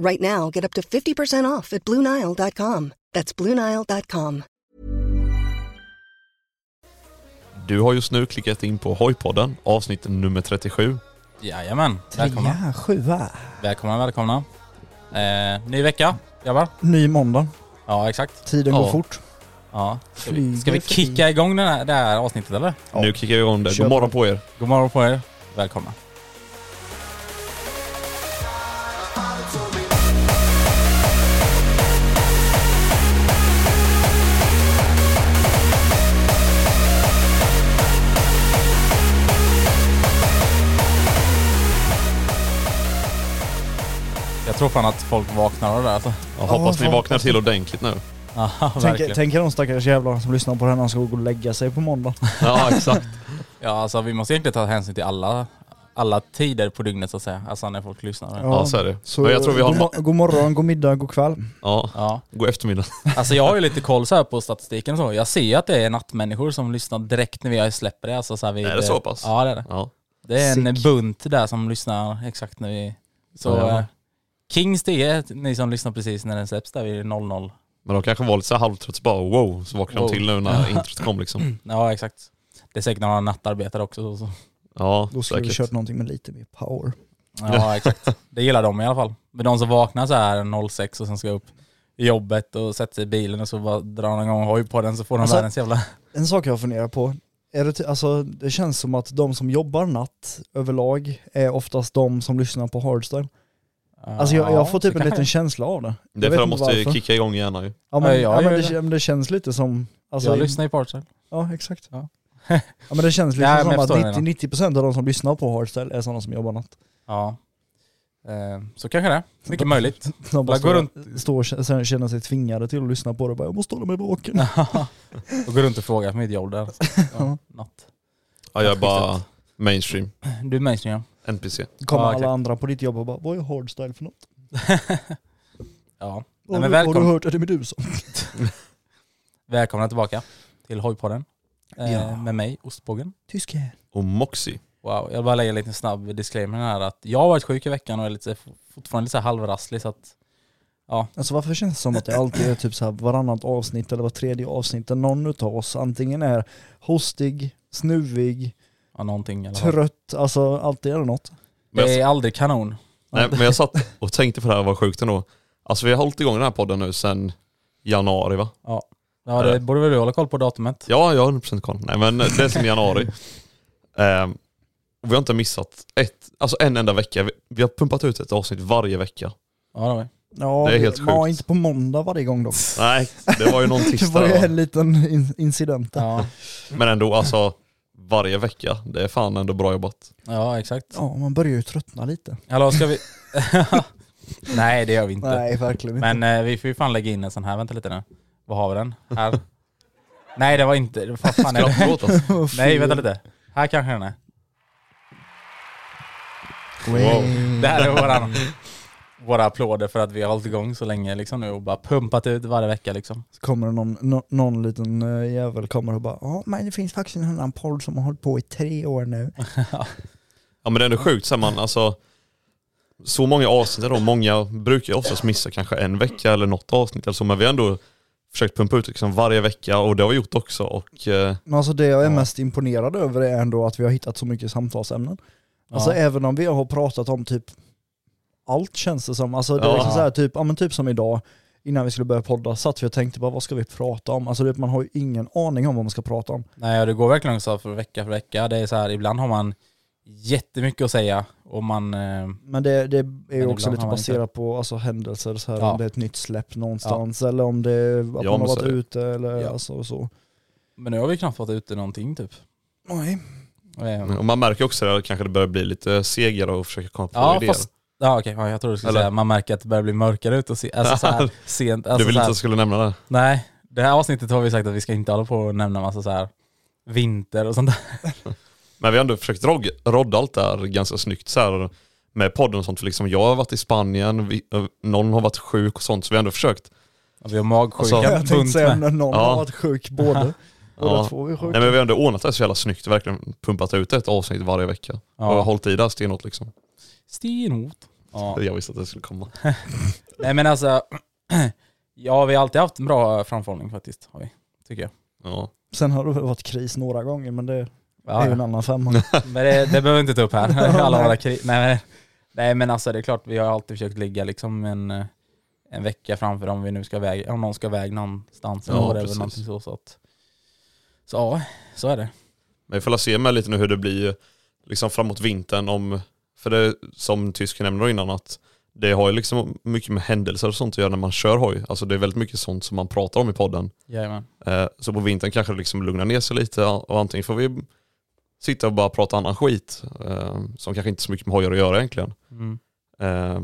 Right now, get up to 50% off at BlueNile.com. That's BlueNile.com. Du har just nu klickat in på Hojpodden, avsnitt nummer 37. Jajamän, välkomna. Trea, sjua. Välkomna, välkomna. Eh, ny vecka, grabbar. Ny måndag. Ja, exakt. Tiden Ja. går fort. Ja. Ska vi, ska Flyger vi förbi. kicka igång den här, det här avsnittet eller? Ja. Nu kickar vi igång det. Kör God morgon på er. God morgon på er. Välkomna. Jag tror fan att folk vaknar av det där alltså. Jag hoppas vi fan. vaknar till ordentligt nu. Ja, Tänk, verkligen. tänk er de stackars jävlarna som lyssnar på det här när de ska gå och lägga sig på måndag. Ja, exakt. Ja, alltså vi måste egentligen ta hänsyn till alla, alla tider på dygnet så att säga. Alltså när folk lyssnar. Ja. Ja, så är det. Men jag tror vi har- god, mo- god morgon, god middag, god kväll. Ja. God eftermiddag. Alltså jag har ju lite koll så här på statistiken och så. Jag ser ju att det är nattmänniskor som lyssnar direkt när vi släpper det. Alltså så här vid, Är det så pass? Ja det är det. Ja. Det är en Sick. bunt där som lyssnar exakt när vi... Så Ja. eh, Kings det är ni som lyssnar precis när den släpps där vid 00. Men de kanske var lite så här halvtrötta bara wow, så vaknade Wow. de till nu när introt kom Mm. liksom. Ja exakt. Det är säkert några nattarbetare också. Så, så. Ja, Då skulle vi säkert. kört någonting med lite mer power. Ja exakt. Det gillar de i alla fall. Men de som vaknar så här 06 och sen ska upp i jobbet och sätter sig i bilen och så bara drar de igång hoj på den så får de Alltså- världens jävla... En sak jag funderar på, är det, ty- alltså, det känns som att de som jobbar natt överlag är oftast de som lyssnar på hardstyle. Alltså jag, jag får typ så en kanske liten känsla av det. Det är för Jag vet de inte måste varför. kicka igång gärna ju. Ja men, Ja, jag ja, gör men, det, det. ja, men det känns lite som... Alltså, jag lyssnar ju på Artsel. Ja exakt. Ja. Ja. men det känns Nej, liksom men jag som att förstår det 90%, 90 av de som lyssnar på hardstyle är sådana som jobbar natt. Ja. Eh, Så kanske det. Mycket möjligt. De bara Bara går står, står och k- sen känner sig tvingade till att lyssna på det bara, jag måste hålla mig vaken. Och går runt och frågar på mitt jobb där. Ja, natt. Ja, jag är bara mainstream. Du är mainstream NPC. Kommer Ja, alla exakt. andra på ditt jobb och bara, vad är hardstyle för något? ja. Har, Nej, men du, har du välkommen, hört Eddie Meduza? välkomna tillbaka till Hojpodden. Eh, Ja. Med mig, Ostbågen. Tyske. Och Moxie. Wow, jag vill bara lägger en liten snabb disclaimer här att jag har varit sjuk i veckan och är lite, fortfarande lite så här halvrasslig så att Alltså varför känns det som att det alltid är typ så här varannat avsnitt eller var tredje avsnitt där någon utav oss antingen är hostig, snuvig, ja, någonting eller vad. trött, alltså alltid är det något. Men Eh, Det jag, är aldrig kanon. nej, men jag satt och tänkte på det här, vad sjukt ändå. Alltså vi har hållit igång den här podden nu sedan januari va? Ja det Nej. borde väl du hålla koll på datumet. Ja, jag har 100% koll. Nej men det är sedan januari. Ehm, och vi har inte missat ett, alltså en enda vecka. Vi, vi har pumpat ut ett avsnitt varje vecka. Ja det har vi. Ja, Det är helt Ja, sjukt. inte på måndag varje gång dock. Nej, det var ju någon Det var tisdag. ju va? en liten in- incident där. Ja, Men ändå alltså, varje vecka. Det är fan ändå bra jobbat. ja exakt. Ja, man börjar ju tröttna lite. Hallå ska vi... Nej det gör vi inte. Nej, verkligen inte. Men eh, vi får ju fan lägga in en sån här, vänta lite nu. Vad har vi den? Här? Nej det var inte, vad fan är det? Skrattlåt alltså. Nej vänta lite. Här kanske den är. Wow. Det här är våran våra applåder för att vi har hållit igång så länge liksom nu och bara pumpat ut varje vecka liksom. Så kommer det någon, nå- någon liten eh, jävel kommer och bara ja men det finns faktiskt en annan podd som har hållit på i tre år nu. Ja men det är ändå sjukt så här, man alltså så många avsnitt då, många brukar ju oftast missa kanske en vecka eller något avsnitt eller så men vi har ändå försökt pumpa ut liksom varje vecka och det har vi gjort också och eh, Men alltså det jag är Ja. mest imponerad över är ändå att vi har hittat så mycket samtalsämnen. Alltså ja. även om vi har pratat om typ allt känns det som. Alltså det är Ja. liksom så här, typ, ja, men typ som idag innan vi skulle börja podda satt vi och tänkte bara vad ska vi prata om? Alltså det, man har ju ingen aning om vad man ska prata om. Nej, och det går verkligen så för vecka för vecka. Det är så här, ibland har man jättemycket att säga och man... Eh, Men det, det är ju ibland också har lite man inte. baserat på alltså, händelser, så här, Ja. om det är ett nytt släpp någonstans eller om det är att man men har så varit är det. ute eller Ja. alltså, så. men nu har vi knappt fått ute någonting typ. Nej. Eh, och man märker också att kanske det börjar bli lite segare och försöka komma på Ja, idéer. fast... Ja okej, ja, jag tror du skulle Eller? säga man märker att det börjar bli mörkare ute och se, alltså så här, sent. Alltså, du vill inte så här, att jag skulle nämna det? Nej, det här avsnittet har vi sagt att vi ska inte hålla på och nämna massa så här vinter och sånt där. Men vi har ändå försökt rog- rodda allt det här ganska snyggt så här med podden och sånt för liksom jag har varit i Spanien, vi, eh, någon har varit sjuk och sånt så vi har ändå försökt. Och vi har magsjuka Alltså, Jag alltså, tänkte bunt säga med. när någon Ja. har varit sjuk både. Båda Ja. två är sjuka. Nej men vi har ändå ordnat det så jävla snyggt, verkligen pumpat ut ett avsnitt varje vecka. Ja. Och hållit i det här stenhårt liksom. Stenhot. Ja. Jag visste att det skulle komma. Nej men alltså, ja vi har alltid haft en bra framförhållning faktiskt, har vi, tycker jag. Ja. Sen har det väl varit kris några gånger men det är Ja, ju en ja. annan femma. Men det, det behöver vi inte ta upp här. Alla våra kri- nej, men, nej men alltså det är klart, vi har alltid försökt ligga liksom en, eh, en vecka framför om vi nu ska väg, om någon ska väg någonstans eller Ja, whatever, precis. någonting så. Så, att, så ja, så är det. Men vi får la se med lite nu hur det blir liksom framåt vintern om, för det som tysk nämnde innan att det har ju liksom mycket med händelser och sånt att göra när man kör hoj. Alltså det är väldigt mycket sånt som man pratar om i podden. Jajamän. Eh, Så på vintern kanske det liksom lugnar ner sig lite och antingen får vi sitta och bara prata annan skit eh, som kanske inte så mycket med hojar att göra egentligen. Mm. Eh,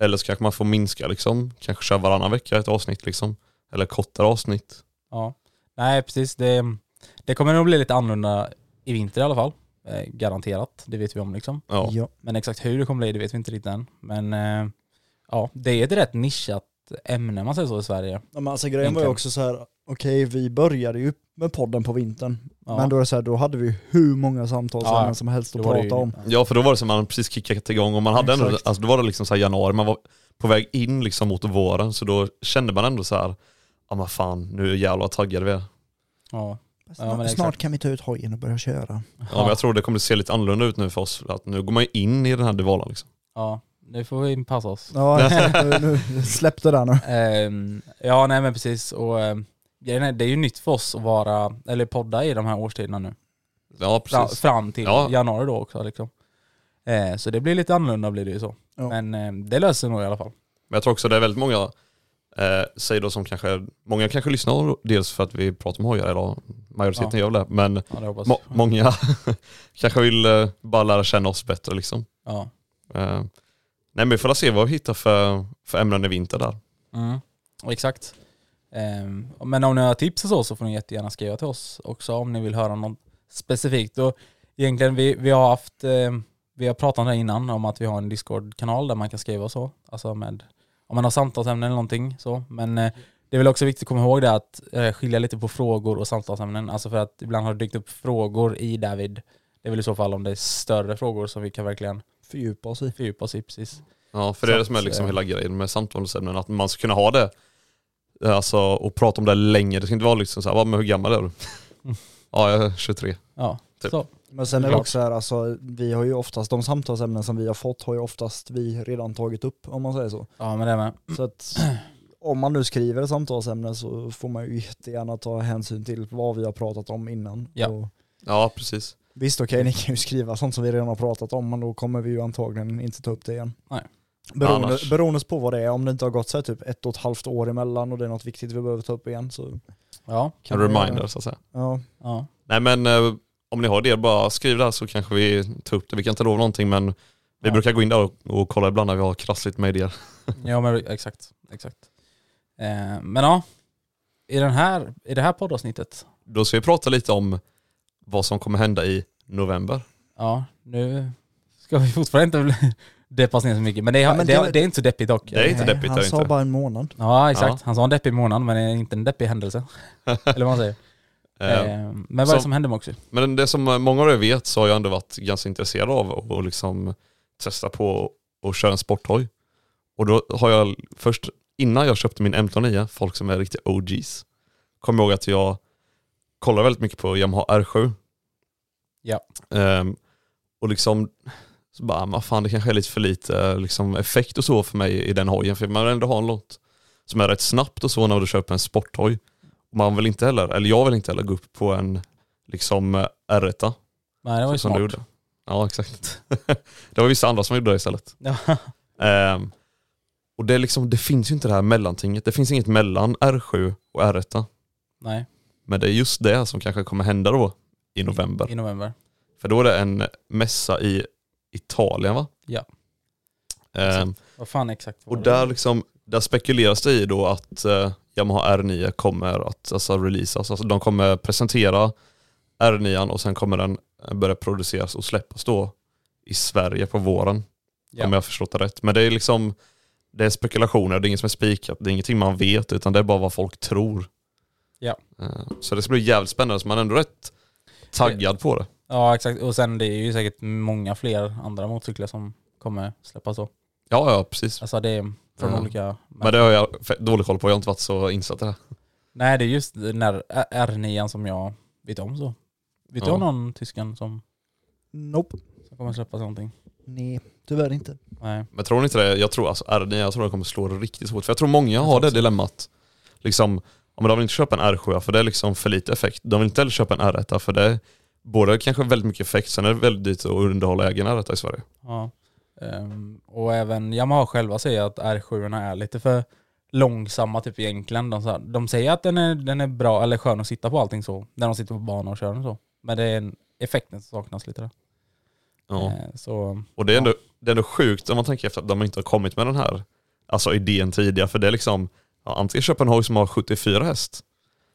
Eller så kanske man får minska liksom, kanske köra varannan vecka ett avsnitt liksom. Eller kortare avsnitt. Ja, nej precis. Det, det kommer nog bli lite annorlunda i vinter i alla fall. Eh, garanterat, det vet vi om liksom. Ja. Ja. Men exakt hur det kommer bli, det vet vi inte riktigt än. Men eh, ja, det är ett rätt nischat ämne om man säger så i Sverige. Ja, men alltså, grejen var ju Egentligen. också så här, okej vi började ju med podden på vintern. Ja. Men då, är det så här, då hade vi ju hur många samtalsämnen Ja, ja. som helst att Då var det prata om. Ja för då var det som man precis kickat igång och man hade ändå, Exakt. alltså då var det liksom så här januari, man var på väg in liksom mot våren så då kände man ändå så här, ja men fan nu jävlar taggade vi är. Ja. Snart, men exakt. snart kan vi ta ut hojen och börja köra. Ja, men jag tror det kommer se lite annorlunda ut nu för oss, för att nu går man ju in i den här divalan liksom. ja, nu får vi passa oss. Ja, nu, nu, släpp det där nu. Ehm, ja, nej men precis. Och, ehm, grejen är, det är ju nytt för oss att vara, eller podda i de här årstiderna nu. Ja Fram, precis. fram till Ja. januari då också liksom. Eh, så det blir lite annorlunda blir det ju så. Ja. Men eh, det löser nog i alla fall. Men jag tror också det är väldigt många, eh, säger då som kanske, många kanske lyssnar dels för att vi pratar om hojar, eller majoriteten Ja. gör väl det, men Ja, det hoppas må- jag. många kanske vill eh, bara lära känna oss bättre liksom. Ja. Eh, nej men vi får se vad vi hittar för, för ämnen i vinter där. Mm. Exakt. Ehm, men om ni har tips och så, så får ni jättegärna skriva till oss också om ni vill höra något specifikt. Och egentligen, vi, vi har haft, ehm, vi har pratat om det innan, om att vi har en Discord-kanal där man kan skriva och så. Alltså med, om man har samtalsämnen eller någonting så. Men eh, det är väl också viktigt att komma ihåg det att eh, skilja lite på frågor och samtalsämnen. Alltså för att ibland har det dykt upp frågor i David. Det är väl i så fall om det är större frågor som vi kan verkligen Fördjupa oss i. Mm. fördjupa oss i precis. Ja, för det är det som är Så att, liksom eh, hela grejen med samtalsämnen, att man ska kunna ha det alltså, och prata om det länge. Det ska inte vara liksom så här, "Va, men hur gammal är du? Ja, jag är 23. Ja, Typ. så. Men sen är det Klart. också så här, alltså, vi har ju oftast, de samtalsämnen som vi har fått har ju oftast vi redan tagit upp om man säger så. Ja men det är med. Så att om man nu skriver ett samtalsämne så får man ju jättegärna ta hänsyn till vad vi har pratat om innan. Ja. Och Ja, precis. Visst okej, ni kan ju skriva sånt som vi redan har pratat om men då kommer vi ju antagligen inte ta upp det igen. Nej. Beroende, Annars. beroende på vad det är, om det inte har gått så här, typ ett och ett halvt år emellan och det är något viktigt vi behöver ta upp igen så Ja. En kan vi göra reminder det. så att säga. Ja, ja. Nej men eh, om ni har det, bara skriv där så kanske vi tar upp det. Vi kan inte lova någonting men vi Ja. brukar gå in där och, och kolla ibland när vi har krassligt med idéer. Ja men exakt. exakt. Eh, men ja, i, den här, i det här poddavsnittet, Då ska vi prata lite om vad som kommer hända i november. ja nu ska vi fortfarande inte bli, deppas ner så mycket. Men det är, Ja, men det, det- är- det är inte så deppigt dock. Det är inte Nej, deppigt, Han det är sa inte. bara en månad. Ja exakt, Ja. han sa en deppig månad men det är inte en deppig händelse. Eller vad man säger. Eh, Eh, Men vad är det som- som hände med Moxie? Men det som eh, många av er vet så har jag ändå varit ganska intresserad av att att liksom testa på och köra en sporthoj. Och då har jag först, innan jag köpte min M109, folk som är riktiga OGs, kom ihåg att jag kollar väldigt mycket på Yamaha R7. Ja. Ehm, och liksom, så bara, men fan det kanske är lite för lite eh, liksom, effekt och så för mig i den hojen, för man vill ändå ha något som är rätt snabbt och så när du köper en sporthoj. Man vill inte heller, eller jag vill inte heller gå upp på en liksom eh, R1 Nej det var ju som du smart. gjorde. Ja exakt. det var vissa andra som gjorde det istället. Ja. Ehm, och det, är liksom, det finns ju inte det här mellantinget. Det finns inget mellan R7 och R1. Nej, Men det är just det som kanske kommer hända då i november. i november. För då är det en mässa i Italien va? Ja. Ehm, Vad fan exakt var och det? där, liksom, där spekuleras det i då att eh, Yamaha R9 kommer att alltså, releasas. Alltså, de kommer presentera R9 och sen kommer den eh, börja produceras och släppas då i Sverige på våren. Ja. Om jag har förstått det rätt. Men det är liksom det är spekulationer, det är inget som är spikat, det är ingenting man vet utan det är bara vad folk tror. Ja. Eh, Så det ska bli jävligt spännande, så man är ändå rätt taggad på det. Ja exakt, och sen det är ju säkert många fler andra motorcyklar som kommer släppas då. Ja, ja precis. Alltså det är från Ja. olika Ehm, Men det har jag fe- dålig koll på, jag har inte varit så insatt i det. här. Nej det är just den där R9 som jag vet om så. Vet du Ja. om någon tysken som, Nope. som kommer släppa någonting? Nej, tyvärr inte. Nej. Men tror ni inte det? Jag tror alltså R9, jag tror det kommer slå riktigt hårt. För jag tror många har tror det också. dilemmat. Liksom, ja, men de vill inte köpa en R7 för det är liksom för lite effekt. De vill inte heller köpa en R1 för det är både kanske väldigt mycket effekt, sen är det väldigt dyrt att underhålla egen R1 i Sverige. Ja. Ehm, och även Yamaha själva säger att R7 är lite för långsamma typ egentligen. De, så här, de säger att den är, den är bra eller skön att sitta på allting så, när de sitter på banan och kör den så. Men det är en, effekten som saknas lite där. Ja. Eh, så Och det är, ändå, det är ändå sjukt om man tänker efter att de inte har kommit med den här alltså idén tidigare. För det är liksom, ja, antingen köpa en hoj som har 74 häst,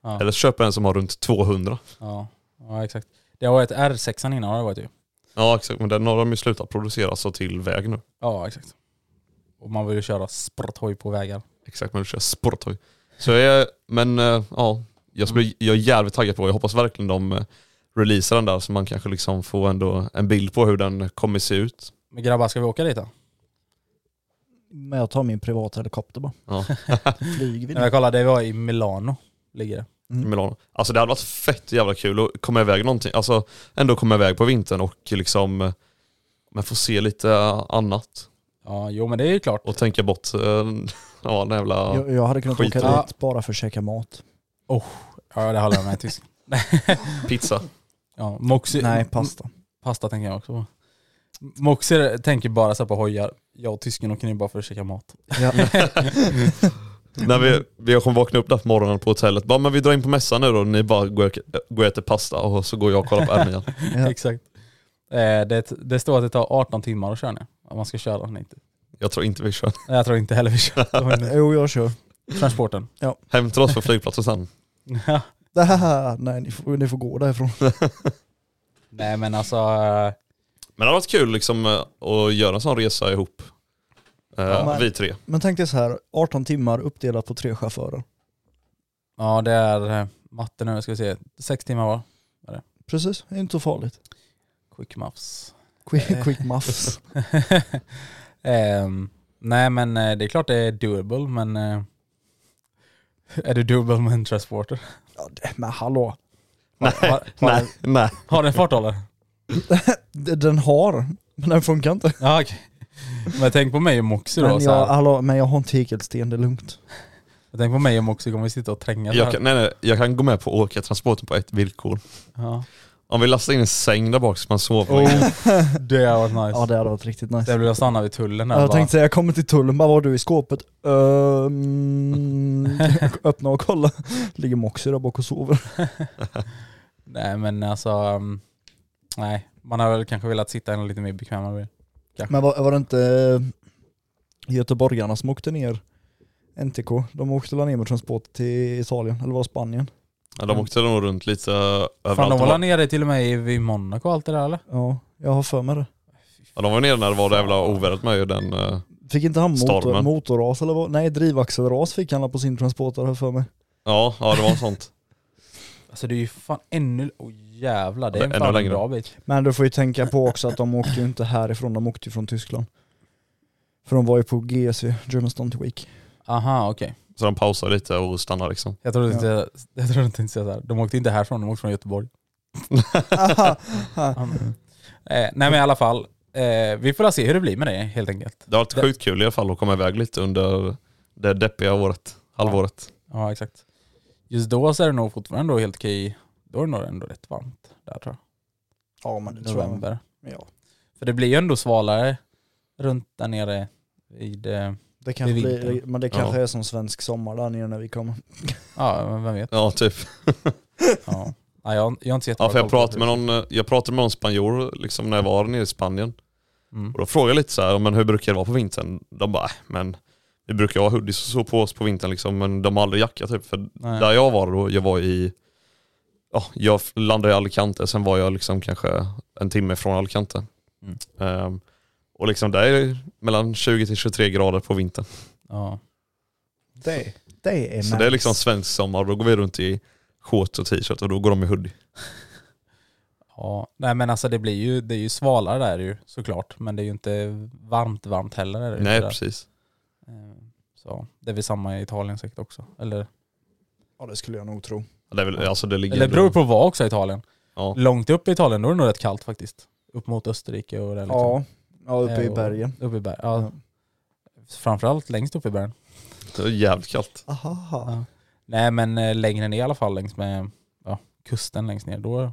Ja. eller köpa en som har runt 200. ja, ja exakt. Det har varit R6 innan har det varit ju. Ja exakt, men den har de ju slutat producera så till väg nu. Ja exakt. Och man vill ju köra sporthoj på vägar. Exakt, man vill köra sporthoj. Så jag, är- men eh, ja, jag, skulle, jag är jävligt taggad på Jag hoppas verkligen de eh, releasar den där så man kanske liksom får ändå en bild på hur den kommer se ut. Men grabbar ska vi åka dit då? Men jag tar min privata helikopter bara. Ja, Flyger vi Mm. Nej, Jag kollade, det var i Milano ligger det. i Milano. Alltså det hade varit fett jävla kul att komma iväg någonting. Alltså ändå komma iväg på vintern och liksom eh, men få se lite eh, annat Ja jo men det är ju klart. och tänka bort eh, ja, den jävla... Jag, jag hade kunnat Skit i åka det. dit bara för att käka mat. Ja det håller jag med tysk. Pizza. Ja, Moxie, Nej, pasta. Pasta tänker jag också på. Moxie tänker bara så här på hojar. Jag och tysken åker nu bara för att käka mat. Ja. När vi, vi kommer vakna upp där på morgonen på hotellet, bara men vi drar in på mässan nu då, ni bara går och, går och äter pasta och så går jag och kollar på r Ja. Exakt. Eh, det, det står att det tar 18 timmar att köra nu. Om man ska köra den inte. Jag tror inte vi kör. Nej, Jag tror inte heller vi kör. Jo, jag kör. Transporten. Hem till oss på flygplatsen sen. Det här, nej, ni får, ni får gå därifrån. Nej men alltså, eh, Men det har varit kul liksom eh, att göra en sån resa ihop. Eh, Ja, men- vi tre. Men tänk dig så här, 18 timmar uppdelat på tre chaufförer. ja det är eh, matte nu, ska vi se. Sex timmar var. Precis, det är inte så farligt. Quick maths. Quick, quick muffs. Ehm, nej men eh, det är klart det är doable men eh, är det doable med en transporter? Ja, det- men hallå, Nej, har- nej, nej. Har den farthållare? D- den har, men den funkar inte. Ja okej. Men tänk på mig och Moxie då. Men så jag, här. hallå, men jag har en tegelsten, det är lugnt. Tänk på mig och Moxie kommer vi sitta och tränga så Jag här. kan, nej, nej. Jag kan gå med på att åka transporten på ett villkor. Ja. Om vi lastar in en säng där bak så man sover. Oh, det hade varit nice. Ja det hade varit riktigt Där nice. vill jag stanna vid tullen där Jag bara. tänkte säga, jag kommer till tullen, bara var du i skåpet? Ehm, öppna och kolla. Ligger Moxie där bak och sover. Nej men alltså, um, nej. Man hade väl kanske velat sitta en lite mer bekvämare bil. Men var, var det inte eh, göteborgarna som åkte ner? NTK, de åkte väl ner med transport till Italien, eller var det Spanien? Ja, de åkte nog runt lite eh, Fan överallt. de var De nere till och med i, i Monaco och allt det där eller? Ja, jag har för mig det. Ja, de var nere när det var det jävla ovädret med ju den... eh, Fick inte han motor, Stormen. motorras eller vad? Nej, drivaxelras fick han på sin transporter här för mig. Ja, ja det var sånt. Alltså det är ju fan ännu... Åh jävlar, det Det är är en ännu fan en längre. bra bit. Men du får ju tänka på också att de åkte ju inte härifrån, de åkte ju från Tyskland. För de var ju på GSV, German Stunt Week. Aha, okej. Så de pausade lite och stannade liksom. Jag trodde inte jag, jag trodde inte jag sa det här. De åkte inte härifrån, de åkte från Göteborg. Ja, men- eh, nej men i alla fall, eh, vi får se hur det blir med det helt enkelt. Det har varit Det- sjukt kul i alla fall att komma iväg lite under det deppiga året, halvåret. Ja exakt. Just då så är det nog fortfarande ändå helt okej. Då är det nog ändå rätt varmt där tror Ja men jag. det tror jag. November. Ja. För det blir ju ändå svalare runt där nere vid, eh, Det kanske Det är blir, vinter. men det kanske Ja. är som svensk sommar där nere när vi kommer. ja men vem vet. Ja, typ. Ja. Nej, jag, jag har inte jättebra Ja, för jag koll på pratade det. med någon, eh, jag pratade med någon spanjor liksom när jag var nere i Spanien. Mm. Och då frågade jag lite så här, men hur brukar det vara på vintern? De bara, "Äh, men vi brukar ha hoodies och så på oss på vintern liksom, men de har aldrig jacka typ. För Nej. där jag var då, jag var i, ja, jag f- landade i Alicante, sen var jag liksom kanske en timme från Alicante. Mm. Ehm, och liksom där är det mellan 20 till 23 grader på vintern. Ja. Det, det är Så det är liksom svensk sommar, då går vi runt i shorts och t-shirt och då går de i hoodie. Ja, nej men alltså det blir ju, det är ju svalare där ju såklart, men det är ju inte varmt varmt heller. Är det ju Nej sådär. precis. Eh, Så det är väl samma i Italien säkert också. Eller, Ja det skulle jag nog tro. Det, är väl, alltså det ligger eller det beror på vad också i Italien. Ja. Långt upp i Italien då är det nog rätt kallt faktiskt. Upp mot Österrike och det liksom. Ja, ja uppe Eh, i och- bergen. Uppe i bergen. Ja. Framförallt längst upp i bergen. Det är jävligt kallt. Aha. Nej men eh, längre ner i alla fall längs med ja, kusten längst ner, då,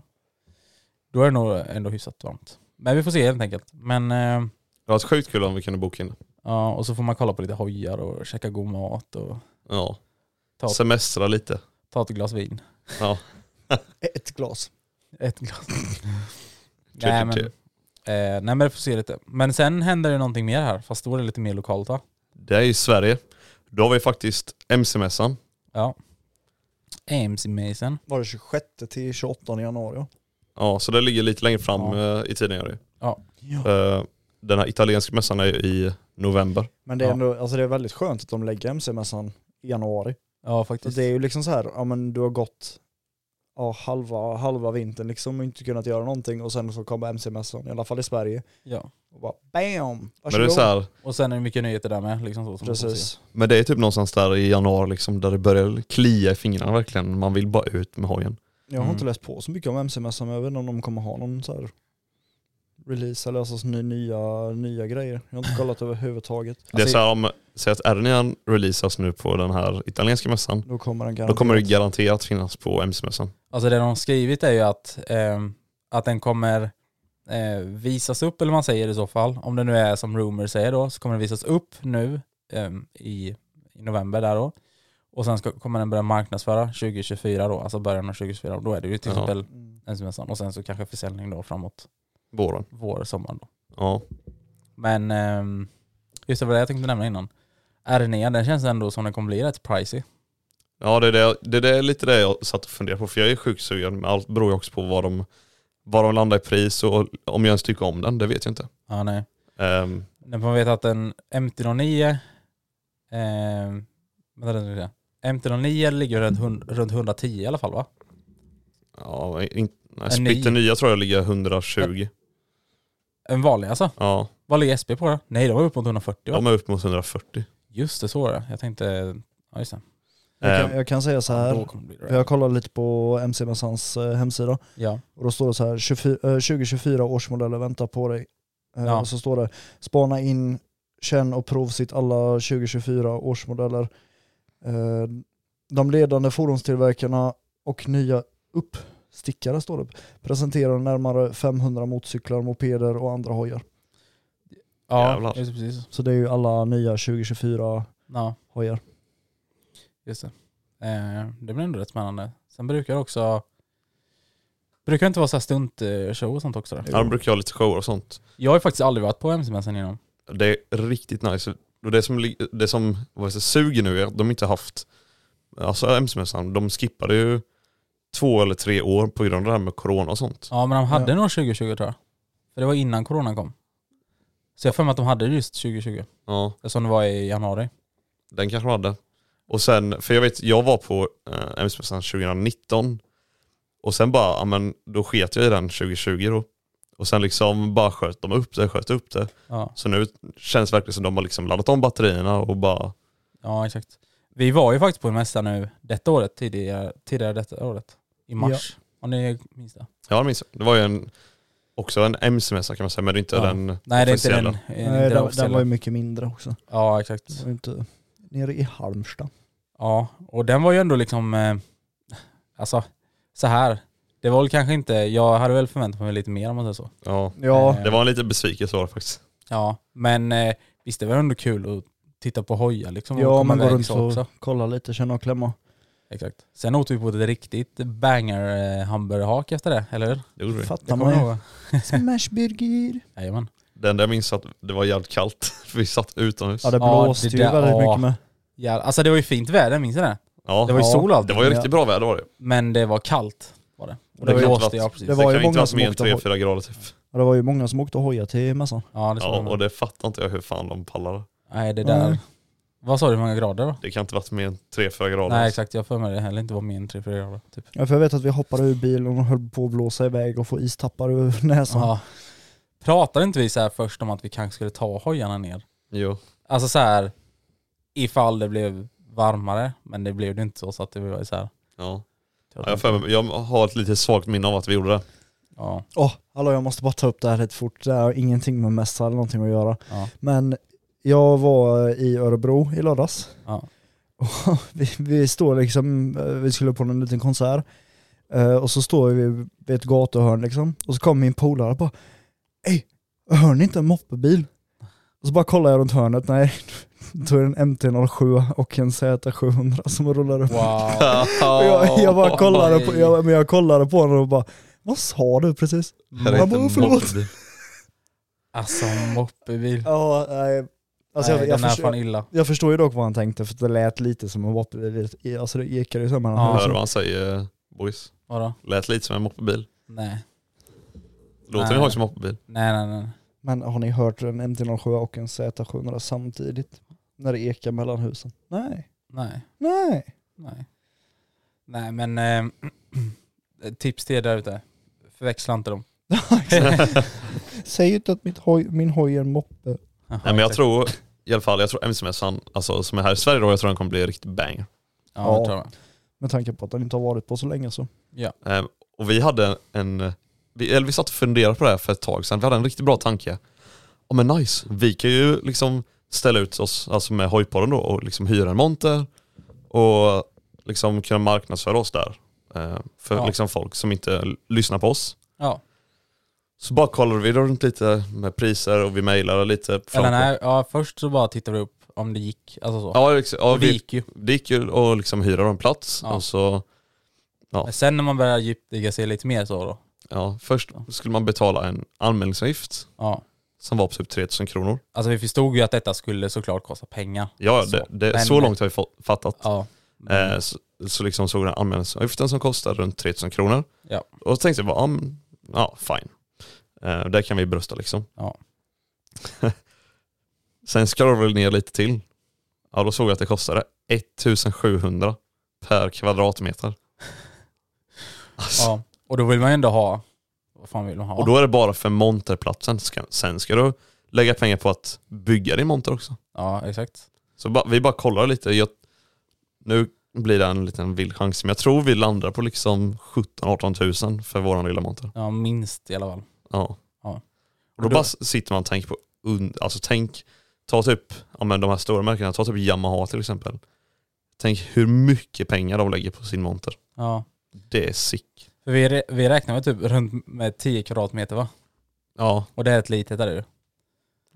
då är det nog ändå hyfsat varmt. Men vi får se helt enkelt. Men eh, Det var sjukt kul om vi kunde boka in. ja, och så får man kolla på lite hojar och käka god mat och Ja. Ta- Semestra lite. ta ett glas vin. Ja. Ett glas. Ett glas. nej, Tycker Typ, men, till. eh, nej men det får se lite. Men sen händer det någonting mer här, fast då är det lite mer lokalt va? Det är i Sverige. Då har vi faktiskt MC-mässan. Ja. AMC-mässan. Var det 26 till 28 januari? Ja, så det ligger lite längre fram Ja. eh, i tiden. Gör det. ju. Ja. Eh, Den här italienska mässan är ju i november. Men det är Ja. ändå, alltså det är väldigt skönt att de lägger MC-mässan i januari. Ja Så faktiskt. det är ju liksom så här, ja men du har gått ja, halva, halva vintern liksom och inte kunnat göra någonting och sen så kommer MC-mässan, i alla fall i Sverige. Ja. Och bara BAM! Men det, är så här, Och sen är det mycket nyheter där med. Liksom så, som man får se. Precis. men det är typ någonstans där i januari liksom, där det börjar klia i fingrarna verkligen. Man vill bara ut med hojen. Jag har Mm. inte läst på så mycket om MC-mässan men jag vet inte om de kommer ha någon så här release eller alltså ny, nya, nya grejer. Jag har inte kollat överhuvudtaget. det är så här, om, säg att Ernian releasas nu på den här italienska mässan. Då kommer den Då garanterat. kommer det garanterat finnas på MC-mässan. Alltså det de har skrivit är ju att, ehm, att den kommer eh, visas upp, eller vad man säger i så fall, om det nu är som Rumor säger då, så kommer den visas upp nu ehm, i, i november där då. Och sen ska, kommer den börja marknadsföra 2024 då, alltså början av 2024. Och Då är det ju till Ja. exempel Mm. ensammässan och sen så kanske försäljning då framåt Våren. vår, sommar då. Ja. Men ehm, just det var det jag tänkte nämna innan. RNE, den känns ändå som den kommer bli rätt pricey. Ja det är, det, det, det är lite det jag satt och funderade på för jag är sjukt sugen men allt beror ju också på vad de, vad de landar i pris och om jag ens tycker om den, det vet jag inte. Ja, nej. Ehm, När man vet att en MT-09 eh, vänta, nu ska vi se. MT-09 ligger runt, hun- runt 110 i alla fall va? ja, in, nej, En Splitter ny. nya tror jag ligger 120. En vanlig alltså? Ja, Vad ligger SP på då? Nej de var upp mot 140 va? de är upp mot 140. Just det, så var det. Jag tänkte, ja just det. Jag, Ehm, kan, jag kan säga så Då här, kommer det bli jag kollar lite på MC-mässans eh, hemsida. Ja. Och då står det så här, 24, eh, 2024 årsmodeller väntar på dig. Eh, Ja. Och så står det, spana in, känn och provsitt alla 2024 årsmodeller. Eh, De ledande fordonstillverkarna och nya uppstickare står det. Presenterar närmare 500 motorcyklar, mopeder och andra hojar. Ja, Jävlar. just det, precis. Så det är ju alla nya 2024 Ja, hojar. just det. Eh, det blir ändå rätt spännande. Sen brukar det också Brukar det inte vara så här stuntshow och sånt också? Då? ja, de brukar ha lite shower och sånt. Jag har ju faktiskt aldrig varit på MC-mässan innan. Det är riktigt nice. Och det som, li- det som vad heter det, suger nu är att de inte haft, alltså MC-mässan, de skippade ju två eller tre år på grund av det här med corona och sånt. Ja men de hade Ja. nog 2020 tror jag. För det var innan corona kom. Så jag har för mig att de hade det just 2020, Ja, som det var i januari. den kanske de hade. Och sen, för jag vet, jag var på eh, MS-mässan 2019 och sen bara, ja, men då sket jag i den 2020 då. Och sen liksom bara sköt de upp det, sköt upp det. Ja, Så nu känns det verkligen som de har liksom laddat om batterierna och bara, ja exakt. Vi var ju faktiskt på en mässa nu detta året, tidigare, tidigare detta året. I mars, om ni minns det. ja jag minns, det var ju en, också en MC-mässa kan man säga, men det är inte Ja. den Nej det är inte den, officiella. eh, inte Nej, den den, den officiella. var ju mycket mindre också. Ja exakt. Den var ju inte nere i Halmstad. Ja, och den var ju ändå liksom, eh, alltså så här. Det var väl kanske inte, jag hade väl förväntat mig lite mer om man säger så. Ja, Ja, Eh, det var en liten besvikelse var det faktiskt. Ja, men eh, visst det var ändå kul att titta på hojar liksom. och ja komma man går iväg runt så också. och kollar lite, känner och klämma. Exakt. Sen åt vi på ett riktigt banger eh, hamburgerhak efter det, eller hur? Det gjorde vi. Fattar Det kommer man jag ju. ihåg. Smashburger. Jajamän. Det enda jag minns att det var jävligt kallt, för vi satt utomhus. Ja det Ja, blåste det ju där- väldigt ja. mycket med. Ja, alltså det var ju fint väder, minns ni det? Ja, Det var ju Ja, sol och allt, det var ju Ja. riktigt bra väder var det. men det var kallt. Var det. Och det, Det kan inte blåste, varit- ja precis. det Det, var ju kan inte många vara som mer än åkte 3-4 hoj. grader typ. Ja, det var ju många som åkte och hojade till mässan. ja, det Ja, ja, och det fattar inte jag hur fan de pallar det. Nej det där. Nej. Vad sa du, hur många grader då? Det kan inte varit mer än 3-4 grader. Nej exakt, jag har för mig det heller inte var min 3-4 grader. Typ. Ja, för jag vet att vi hoppade ur bilen och höll på att blåsa iväg och få istappar ur näsan. Ja. Pratade inte vi så här först om att vi kanske skulle ta hojarna ner? Jo. Alltså så här ifall det blev varmare, men det blev det inte så så att det var ju så här. Ja. Ja, jag, har för mig, jag har ett lite svagt minne av att vi gjorde det. Ja, Åh, hallå jag måste bara ta upp det här lite fort. Det här har ingenting med mässa eller någonting att göra. ja, Men jag var i Örebro i lördags. ja. Och vi, vi står liksom, eh, vi skulle på en liten konsert. Eh, Och så står vi vid ett gatuhörn liksom. Och så kommer min polare och bara Ey, hör ni inte en moppebil? Och så bara kollar jag runt hörnet, nej. Då är det en MT-07 och en Z700 som rullar upp. Wow. Och jag, jag bara kollade på, nej. jag, men jag kollade på honom och bara Vad sa du precis? Jag bara, förlåt. Alltså moppebil. Ja, nej. Alltså Nej, jag, jag, den är förstår, fan illa. jag förstår ju dock vad han tänkte för det lät lite som en vapen, alltså det ekade ju så mellan Ja. Hör ja, du vad han säger boys? Vadå? Lät lite som en moppebil. Nej. Låter Nej. vi högt som en moppebil? nej, nej, nej. Men har ni hört en MT-07 och en Z700 samtidigt? När det ekar mellan husen? Nej, Nej, nej. nej. Nej men, eh, tips till er där ute. Förväxla inte dem. Säg inte att mitt hoj, min hoj är en moppe. Jaha, Nej men jag exakt. tror i alla fall, jag tror MC-mässan, alltså som är här i Sverige då, jag tror den kommer bli riktigt bang. Ja, Ja. det tror jag. Med tanke på att den inte har varit på så länge så. Ehm, och vi hade en, vi, eller vi satt och funderade på det här för ett tag sedan, vi hade en riktigt bra tanke. Ja men nice, vi kan ju liksom ställa ut oss, alltså med hojpodden då och liksom hyra en monter och liksom kunna marknadsföra oss där. ehm, för Ja. liksom folk som inte l- lyssnar på oss. Ja. Så bara kollade vi runt lite med priser och vi mejlade lite. fram Eller och- nej, ja, först så bara tittade vi upp om det gick. Alltså så. Ja, ex- ja och det vi, gick ju. det gick ju att liksom hyra en plats Ja. och så, Men sen när man börjar djupdyka sig lite mer så då. ja först skulle man betala en anmälningsavgift Ja. som var på typ 3000 kronor. Alltså vi förstod ju att detta skulle såklart kosta pengar. Ja, Så. så, det, det, Men- så långt har vi fått- fattat. Ja. Eh, så, så liksom såg den anmälningsavgiften som kostar runt 3000 kronor. Ja. Och så tänkte jag bara, ja, men, ja fine. Eh, där kan vi brösta liksom. Ja. Sen scrollade vi ner lite till. Ja, då såg jag att det kostade 1700 per kvadratmeter. Alltså, ja. Och då vill man ju ändå ha, vad fan vill man ha? Och då är det bara för monterplatsen. Ska- Sen ska du lägga pengar på att bygga din monter också. Ja, exakt. Så ba, vi bara kollar lite. Jag, nu blir det en liten vild chans, men jag tror vi landar på liksom 17-18 000 för våran lilla monter. Ja, minst i alla fall. Ja. Ja. Och då Och då- bara s- sitter man och tänker på, und- alltså tänk, ta typ, ja men de här stora märkena, ta typ Yamaha till exempel. Tänk hur mycket pengar de lägger på sin monter. Ja. Det är sick. För vi, rä- vi räknar med typ runt med 10 kvadratmeter va? Ja, Och det är ett litet där ju.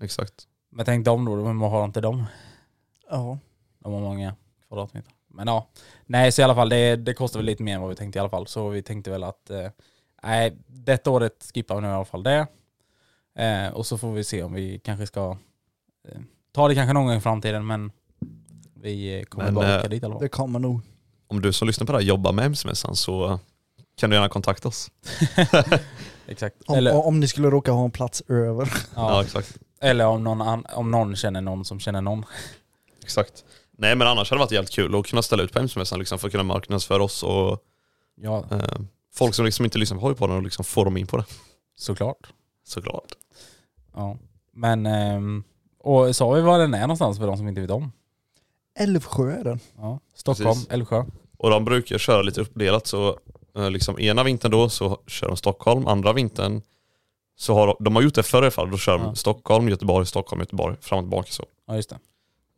exakt. Men tänk dem då, men vad har inte dem? Ja. De har många kvadratmeter. Men ja. Nej, så i alla fall det, det kostar väl lite mer än vad vi tänkte i alla fall. Så vi tänkte väl att eh, nej, detta året skippar vi nu i alla fall det. Eh, och så får vi se om vi kanske ska eh, ta det kanske någon gång i framtiden men vi eh, kommer Men, bara eh, åka dit i alla fall. Det kommer nog. Om du som lyssnar på det här jobbar med MC-mässan så kan du gärna kontakta oss. Exakt. Om, Eller, ja, om ni skulle råka ha en plats över. Ja, exakt. Eller om någon, an, om någon känner någon som känner någon. Exakt. Nej men annars hade det varit jävligt kul att kunna ställa ut på MC-mässan liksom, för att kunna marknadsföra oss och Ja, eh, folk som liksom inte lyssnar på Hojpodden och liksom få dem in på det. såklart. Såklart. Ja. Men, ehm, och sa vi var den är någonstans för de som inte vet om? Älvsjö är den. Ja. Stockholm, Precis. Älvsjö. Och de brukar köra lite uppdelat så eh, liksom ena vintern då så kör de Stockholm, andra vintern så har de, de har gjort det förr i alla fall, då kör de Ja. Stockholm, Göteborg, Stockholm, Göteborg, fram och tillbaka så. Ja just det.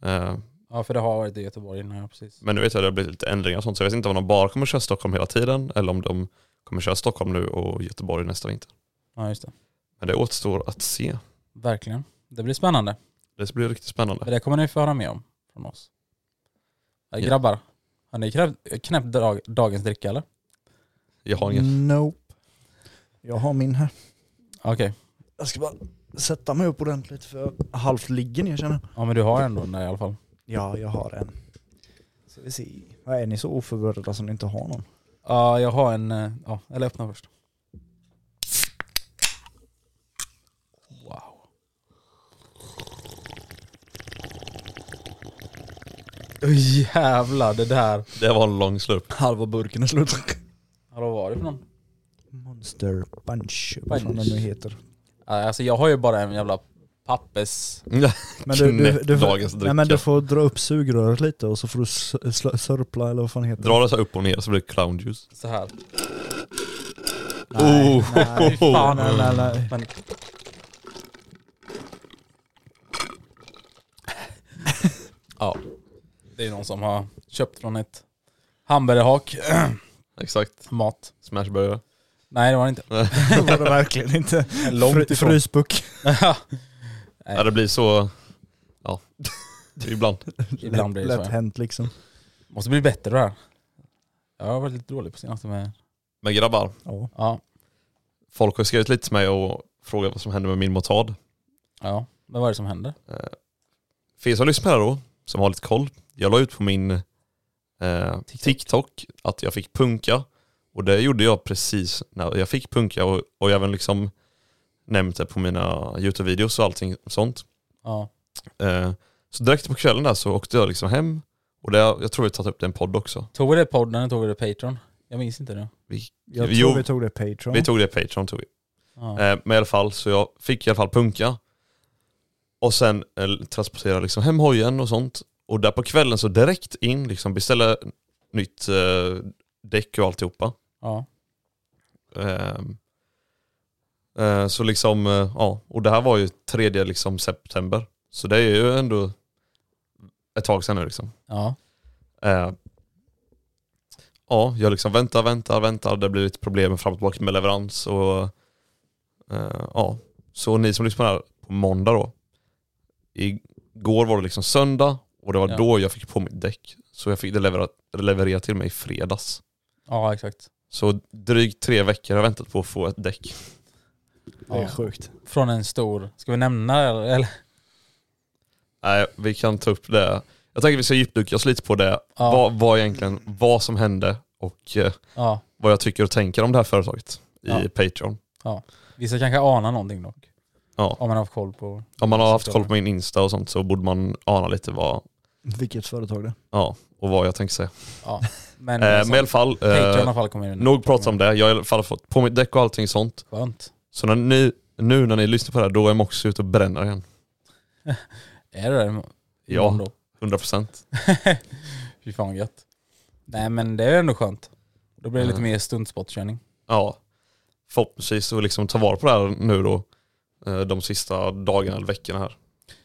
Eh, Ja för det har varit i Göteborg innan, ja precis. Men nu vet jag att det har blivit lite ändringar och sånt så jag vet inte om de bara kommer köra Stockholm hela tiden eller om de kommer köra Stockholm nu och Göteborg nästa vinter. Ja just det. Men det återstår att se. Verkligen. Det blir spännande. Det blir riktigt Det spännande. där kommer ni få höra mer om från oss. Ja, Ja. grabbar, har ni knäppt, knäppt dag, dagens dricka eller? Jag har ingen. Nope. Jag har min här. Okej. Jag ska bara sätta mig upp ordentligt för jag halvt ligger ner känner jag. Ja men du har ändå den där i alla fall. Ja, jag har en. Så vi ser. Vad är ni så oförberedda som ni inte har någon? Ja jag har en, eh, ja eller öppna först. Wow. Oj jävlar det där. Det var en lång slurp. Halva burken är slut. Ja, vad var det för någon? Monster punch, vad fan Punch. den nu heter. Ja, Alltså jag har ju bara en jävla pappers... Men du, du, du, Dagens får, nej, dricka. men du får dra upp sugröret lite och så får du s- sl- sörpla eller vad fan heter Dra det så här upp och ner så blir det clown juice. Så här. Nej, Oh. nej, fan. nej, nej, nej. Men... ja, det är någon som har köpt från ett hamburgerhak Exakt. mat. Smashburger. Nej det var det inte. Det var det verkligen inte. Långt Fry, ifrån. fryspuck. Ja, det blir så... Ja. Ibland. Ibland blir det Lätt så. ja. hänt liksom. Måste bli bättre det här. Jag har varit lite dålig på senaste med... Men grabbar, Ja. Ja, folk har skrivit lite till mig och frågat vad som händer med min motard. Eh, ja. Men vad är det som händer? För er som lyssnar här då, som har lite koll. Jag la ut på min eh, TikTok. att jag fick punka. Och det gjorde jag precis när jag fick punka och, och jag även liksom nämnt det på mina YouTube-videos och allting sånt. Ja. Eh, så direkt på kvällen där så åkte jag liksom hem. Och det, jag tror vi tagit upp det i en podd också. Tog vi det podden eller tog vi det Patreon? Jag minns inte det. Jag Jo. tror vi tog det Patreon. Vi tog det i Patreon tog vi. Ja. Eh, men i alla fall, så jag fick i alla fall punka. Och sen eh, transportera liksom hem hojen och sånt. Och där på kvällen så direkt in, liksom beställa nytt eh, däck och alltihopa. ja. Ehm, eh, så liksom, eh, ja. Och det här var ju tredje liksom september. Så det är ju ändå ett tag sedan nu liksom. Ja. Eh, ja, jag liksom väntar, väntar, väntar. Det blir lite problem fram och tillbaka med leverans och eh, ja. Så ni som lyssnar här på måndag då. Igår var det liksom söndag och det var Ja. då jag fick på mitt däck. Så jag fick det levererat, levererat till mig i fredags. Ja exakt. Så drygt tre veckor har jag väntat på att få ett däck. Det är Ja. sjukt. Från en stor... Ska vi nämna det eller? eller? Nej, vi kan ta upp det. Jag tänker att vi ska djupdyka oss lite på det. Ja. Vad, vad egentligen, vad som hände och eh, Ja. vad jag tycker och tänker om det här företaget i Ja. Patreon. Vissa kanske anar någonting dock. Ja. Om man har koll på... Om man har haft koll på min Insta och sånt så borde man ana lite vad, Vilket företag det ja, och vad jag tänkte säga. Ja. Men, Eh, alltså, men i alla fall, Patreon i eh, alla fall kommer in. nog pratat om det. Jag har i alla fall fått på mitt däck och allting sånt. Skönt. Så när ni, nu när ni lyssnar på det här, då är Mox ute och bränner igen. Är det det? Ja, 100%. 100%. Fy fan vad gött. Nej men det är ändå skönt. Då blir det lite Mm. mer stuntspotkörning. Ja. Förhoppningsvis så liksom ta vara på det här nu då, eh, de sista dagarna eller veckorna här.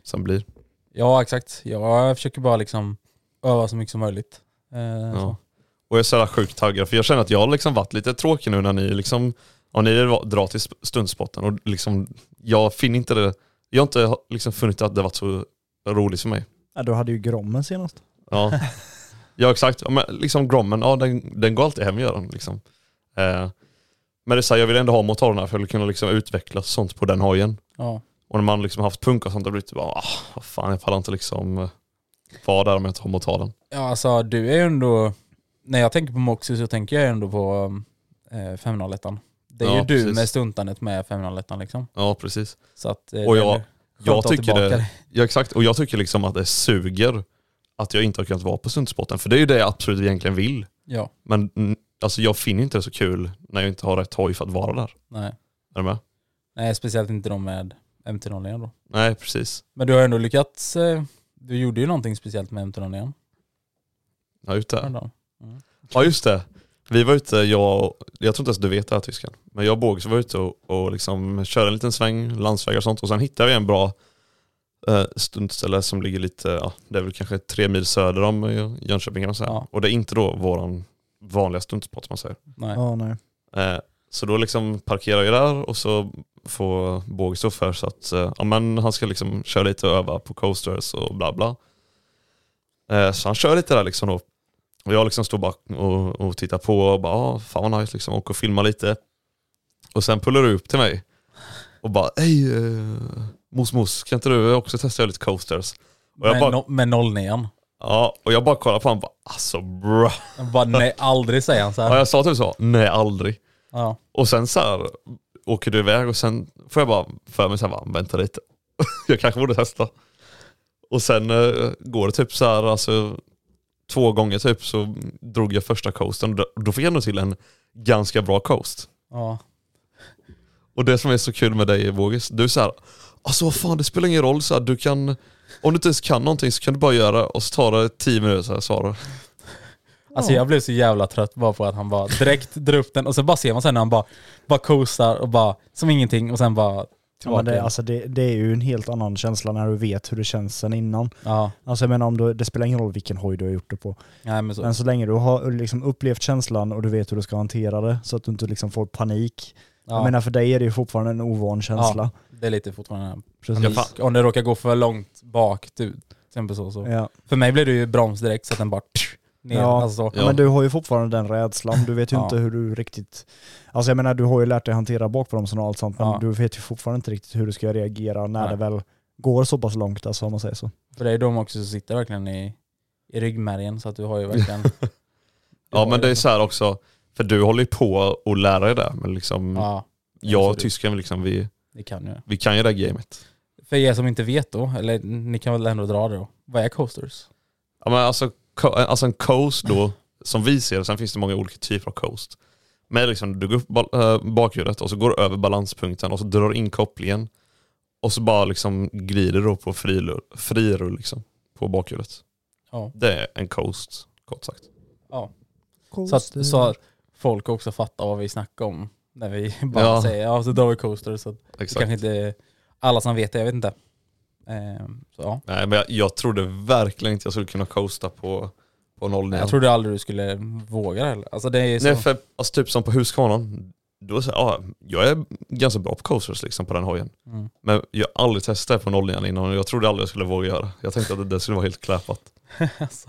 Sen blir. Ja exakt. Jag försöker bara liksom öva så mycket som möjligt. Eh, Ja. så. Och jag är så jävla sjukt taggad för jag känner att jag har liksom varit lite tråkig nu när ni liksom, ja ni drar till sp- stundspotten och liksom, jag finner inte det, jag har inte ha- liksom funnit att det varit så roligt för mig. ja, Du hade ju Grommen senast. Ja, ja exakt. Ja, men liksom Grommen, ja den, den går alltid hem gör den liksom. Eh, men det är så här, jag vill ändå ha motorerna för att kunna liksom utvecklas och sånt på den hojen. Ja. Och när man liksom haft punk och sånt, då blir det typ bara, ah, vad fan jag pallar inte liksom eh, vara där om jag inte har motorn. ja alltså du är ju ändå... När jag tänker på Moxie så tänker jag ändå på eh, 501 Det är Ja, ju du precis. med stuntandet med 501 liksom. Ja precis. Så att, eh, Och det jag- är Jag ta tycker tillbaka det, ja exakt, och jag tycker liksom att det suger att jag inte har kunnat vara på Sundsbotten, för det är ju det jag absolut egentligen vill. Ja, Men mm, alltså jag finner inte det så kul när jag inte har rätt hoj för att vara där. nej. Är du med? Nej, speciellt inte de med MT-01 då. Nej precis. Men du har ändå lyckats, eh, du gjorde ju någonting speciellt med MT-01. Ja, ute. häromdagen. Ja just det. Vi var ute, jag, jag tror inte ens du vet det här tyskan, men jag och Bågs var ute och, och liksom körde en liten sväng, landsvägar och sånt och sen hittade vi en bra eh, stuntställe som ligger lite, ja, det är väl kanske tre mil söder om eh, Jönköping kan man säga. Ja. Och det är inte då våran vanliga stuntspot som man säger. Nej. Ja, nej. Eh, så då liksom parkerar vi där och så får Båge stå för så att eh, ja, men han ska liksom köra lite och öva på coasters och bla bla. Eh, så han kör lite där liksom då. Och jag liksom står bak och, och tittar på och bara ah, fan vad nice liksom, åker och filmar lite. Och sen pullar du upp till mig och bara hej eh, mos mos kan inte du också testa att göra lite coasters? Och jag Med, bara- no, med 09. Ja, och jag bara kollar på honom och bara alltså bra. Han Bara, nej, aldrig säger han så Ja, här. jag sa typ så, nej aldrig. Ja. Och sen så här åker du iväg och sen får jag bara för mig så här, bara, vänta lite. jag kanske borde testa. Och sen eh, går det typ så här, alltså två gånger typ så drog jag första coasten och då, då fick jag nog till en ganska bra coast. ja. Och det som är så kul med dig Vågis, du är så här, alltså vad fan det spelar ingen roll så här, du kan, om du inte ens kan någonting så kan du bara göra och så tar det tio minuter så här svarar Alltså jag blev så jävla trött bara på att han bara direkt drar upp den och så bara ser man sen när han bara, bara coastar och bara, som ingenting och sen bara Ja, men tillbaka. det, alltså det, det är ju en helt annan känsla när du vet hur det känns sen innan. Ja, Alltså jag menar, om du, det spelar ingen roll vilken hoj du har gjort det på. nej men så. Men så länge du har liksom upplevt känslan och du vet hur du ska hantera det så att du inte liksom får panik. ja. Jag menar för dig är det ju fortfarande en ovan känsla. Ja, det är lite fortfarande den här Precis. Ja, fan. Om det råkar gå för långt bak, du, till exempel så, så. Ja. För mig blev det ju broms direkt så att den bara ner. Ja. Alltså, så. Ja. Men du har ju fortfarande den rädslan, du vet ju Ja. inte hur du riktigt... Alltså jag menar du har ju lärt dig hantera bakbromsen och allt sånt men Ja. du vet ju fortfarande inte riktigt hur du ska reagera när Nej. det väl går så pass långt alltså om man säger så. För det är de också som sitter verkligen i, i ryggmärgen så att du har ju verkligen... Ja men det är så här också, för du håller ju på att lära dig det, men liksom Ja, jag och absolut. tysken liksom vi, det kan ju. vi kan ju det här gamet. För er som inte vet då, eller ni kan väl ändå dra det då. Vad är coasters? Ja, men alltså, co- alltså en coast då, som vi ser det, sen finns det många olika typer av coast. Men liksom, du går upp bal- eh, bakhjulet och så går du över balanspunkten och så drar du in kopplingen. Och så bara liksom glider du då på frirull, frirull liksom, på bakhjulet. Ja. Det är en coast, kort sagt. Ja. Så att, så att folk också fattar vad vi snackar om. När vi bara Ja. säger ja, så drar vi coasters. Så att det Exakt. kanske inte är alla som vet det, jag vet inte. Ehm, så, ja. Nej, men jag, jag trodde verkligen inte jag skulle kunna coasta på, på 09. Jag trodde aldrig du skulle våga det heller. Alltså det är så. Nej, för alltså, typ som på Husqvarnan, då så, ja, jag är ganska bra på coasters liksom på den hojen. Mm. Men jag har aldrig testat på nollningen innan och jag trodde aldrig jag skulle våga göra det. Jag tänkte att det skulle vara helt kläpat. alltså.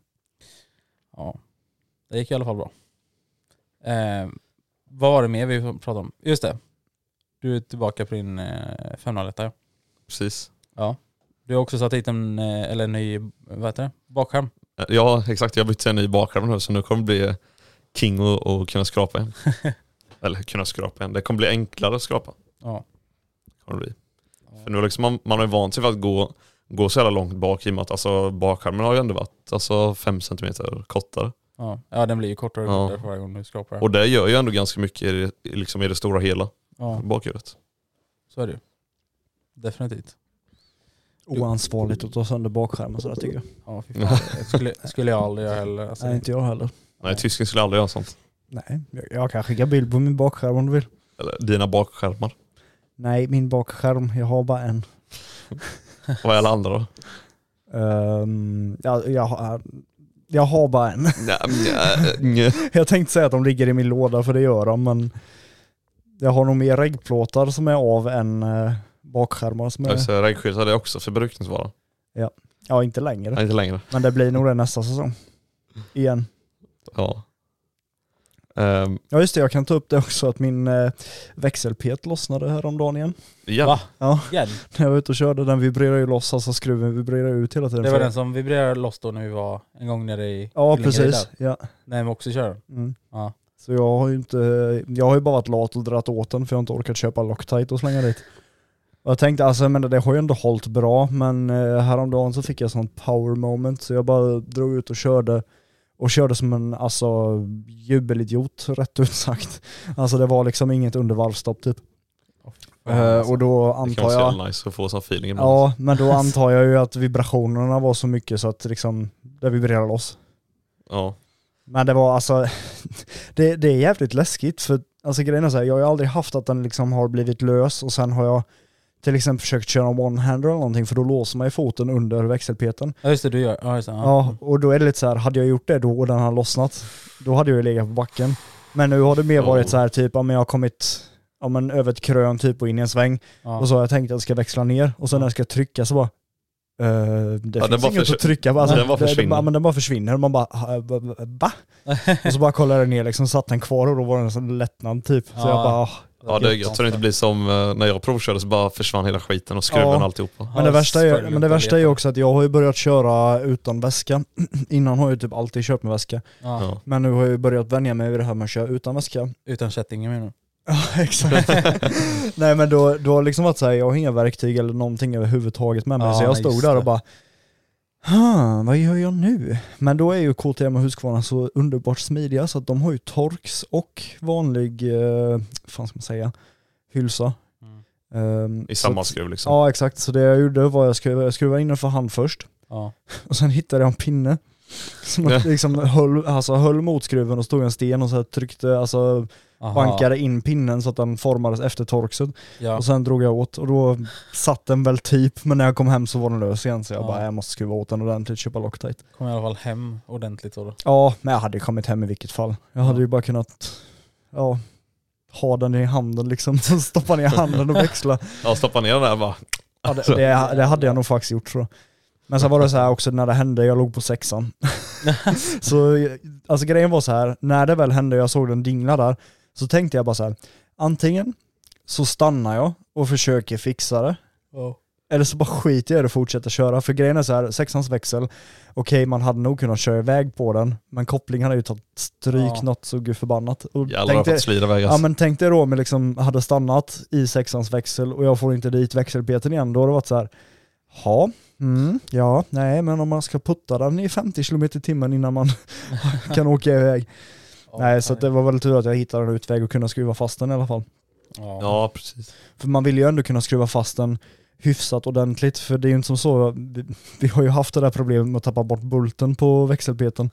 ja. Det gick i alla fall bra. Ehm, vad var det mer vi pratade om? Just det. Du är tillbaka på din eh, 501 ja. Precis. ja. Du har också satt dit en, eh, eller en ny, vad heter det? Bakskärm. Eh, Ja, exakt. Jag bytte en ny bakskärm nu så nu kommer det bli eh, king och, och kunna skrapa igen. Eller kunna skrapa igen. Det kommer bli enklare att skrapa. Ja. Kommer det bli. För nu har liksom man, man har ju vant sig för att gå, gå så jävla långt bak i och med att alltså, bakskärmen har ju ändå varit alltså, 5 cm kortare. Ja. ja, den blir ju kortare och Ja. kortare för varje gång du skrapar den. Och det gör ju ändå ganska mycket i det, i liksom, i det stora hela, Ja, bakhjulet. så är det ju. Definitivt. Oansvarigt att ta sönder bakskärmen sådär tycker jag. Ja, fy fan. Det skulle, skulle jag aldrig göra heller. Alltså, Nej inte jag heller. Nej, tysken skulle aldrig göra sånt. Nej, jag, jag kan skicka bild på min bakskärm om du vill. Eller dina bakskärmar. Nej, min bakskärm, jag har bara en. Vad är alla andra då? Ehm, jag, jag, har- jag har bara en. Nej, nja, nja. Jag tänkte säga att de ligger i min låda för det gör de, men jag har nog mer reggplåtar som är av än eh, bakskärmar som är... Alltså, Reggskydd hade jag också förbrukningsvara. Ja, inte längre. Nej, inte längre. Men det blir nog det nästa säsong. Igen. Ja. Ehm, Ja just det, jag kan ta upp det också att min eh, växelpet lossnade häromdagen igen. ja. Va? Ja, Igen. när jag var ute och körde, den vibrerar ju loss, alltså skruven vibrerar ut hela tiden. Det var För- den som vibrerade loss då när vi var en gång nere i Ja Skillingaryd precis. där. Ja. När vi också körde. Mm. Ja. Så jag har ju inte, jag har ju bara varit lat och dratt åt den för jag har inte orkat köpa Loctite och slänga dit. Och jag tänkte alltså men det har ju ändå hållit bra men eh, häromdagen så fick jag sånt power moment så jag bara drog ut och körde och körde som en alltså jubelidiot rätt ut sagt. Alltså det var liksom inget undervarvstopp typ. Eh, och då Det kan vara antar så jag jävla nice att få sån feeling ibland. Ja, men då antar jag ju att vibrationerna var så mycket så att liksom, det vibrerar loss. Ja. Men det var alltså, det, det är jävligt läskigt för alltså grejen är så här, jag har ju aldrig haft att den liksom har blivit lös och sen har jag till exempel försökt köra one-hander eller någonting för då låser man ju foten under växelpeten. Ja just det, du gör ja, just det, Ja, och då är det lite så här, hade jag gjort det då och den hade lossnat, då hade jag ju legat på backen. Men nu har det mer varit så här typ, ja men jag har kommit ja, men över ett krön typ och in i en sväng Ja. och så har jag tänkt att jag ska växla ner och sen när jag ska trycka så bara eh, det den finns bara inget försvin- att trycka på. Alltså, den bara det- det- försvinner. ja, men den bara försvinner. Man bara, "Ha, va- va- va? Och så bara kollar jag ner liksom, satt den kvar och då var den en sån lättnad typ. Så Ja. jag bara, "Ah." Ja, det, jag tror det inte blir som eh, när jag provkörde så bara försvann hela skiten och skruven Ja. och alltihopa. men det, Ja, värsta är, spärren men det inte värsta är ju leta. också att jag har ju börjat köra utan väska. Innan har jag ju typ alltid kört med väska. Ja. Ja. Men nu har jag ju börjat vänja mig vid det här med att köra utan väska. Utan kättingen menar du? Ja exakt. Nej men då, då har liksom varit såhär, jag har inga verktyg eller någonting överhuvudtaget med mig. Ja, så jag nej, stod just där och det. bara, "Huh, vad gör jag nu? Men då är ju KTM och Husqvarna så underbart smidiga så att de har ju torx och vanlig, eh, fan ska man säga, hylsa. Mm. Ehm, I så samma att- skruv liksom. Ja exakt, så det jag gjorde var att jag skruvade, jag skruvade in den för hand först Ja. och sen hittade jag en pinne. Som Ja. liksom höll, alltså höll mot skruven och stod en sten och så här tryckte, alltså Aha. bankade in pinnen så att den formades efter torxen. Ja. Och sen drog jag åt och då satt den väl typ, men när jag kom hem så var den lös igen så jag Ja. bara, jag måste skruva åt den ordentligt, köpa Loctite. Kom i alla fall hem ordentligt då. då. Ja, men jag hade ju kommit hem i vilket fall. Jag hade ju bara kunnat, ja, ha den i handen liksom, så stoppa ner handen och växla. Ja, stoppa ner den där bara. Ja, det, det, det hade jag nog faktiskt gjort tror jag. Men sen var det så här också när det hände, jag låg på sexan. så alltså grejen var så här, när det väl hände, jag såg den dingla där, så tänkte jag bara så här, antingen så stannar jag och försöker fixa det, Eller så bara skiter jag i det och fortsätter köra. För grejen är så här, sexans växel, okej man hade nog kunnat köra iväg på den, men kopplingen hade ju tagit stryk Ja. något så gudförbannat. Och Jävlar vad tänkte- fått slida väg Ja alltså. men tänk dig då om jag liksom hade stannat i sexans växel och jag får inte dit växelbeten igen, då har det varit så här, ja, mm, ja, nej men om man ska putta den i 50 km i timmen innan man kan åka iväg. Ja, nej så att det var väl tur att jag hittade en utväg och kunde skruva fast den i alla fall. Ja. Ja, precis. För man vill ju ändå kunna skruva fast den hyfsat ordentligt, för det är ju inte som så, vi, vi har ju haft det där problemet med att tappa bort bulten på växelbeten.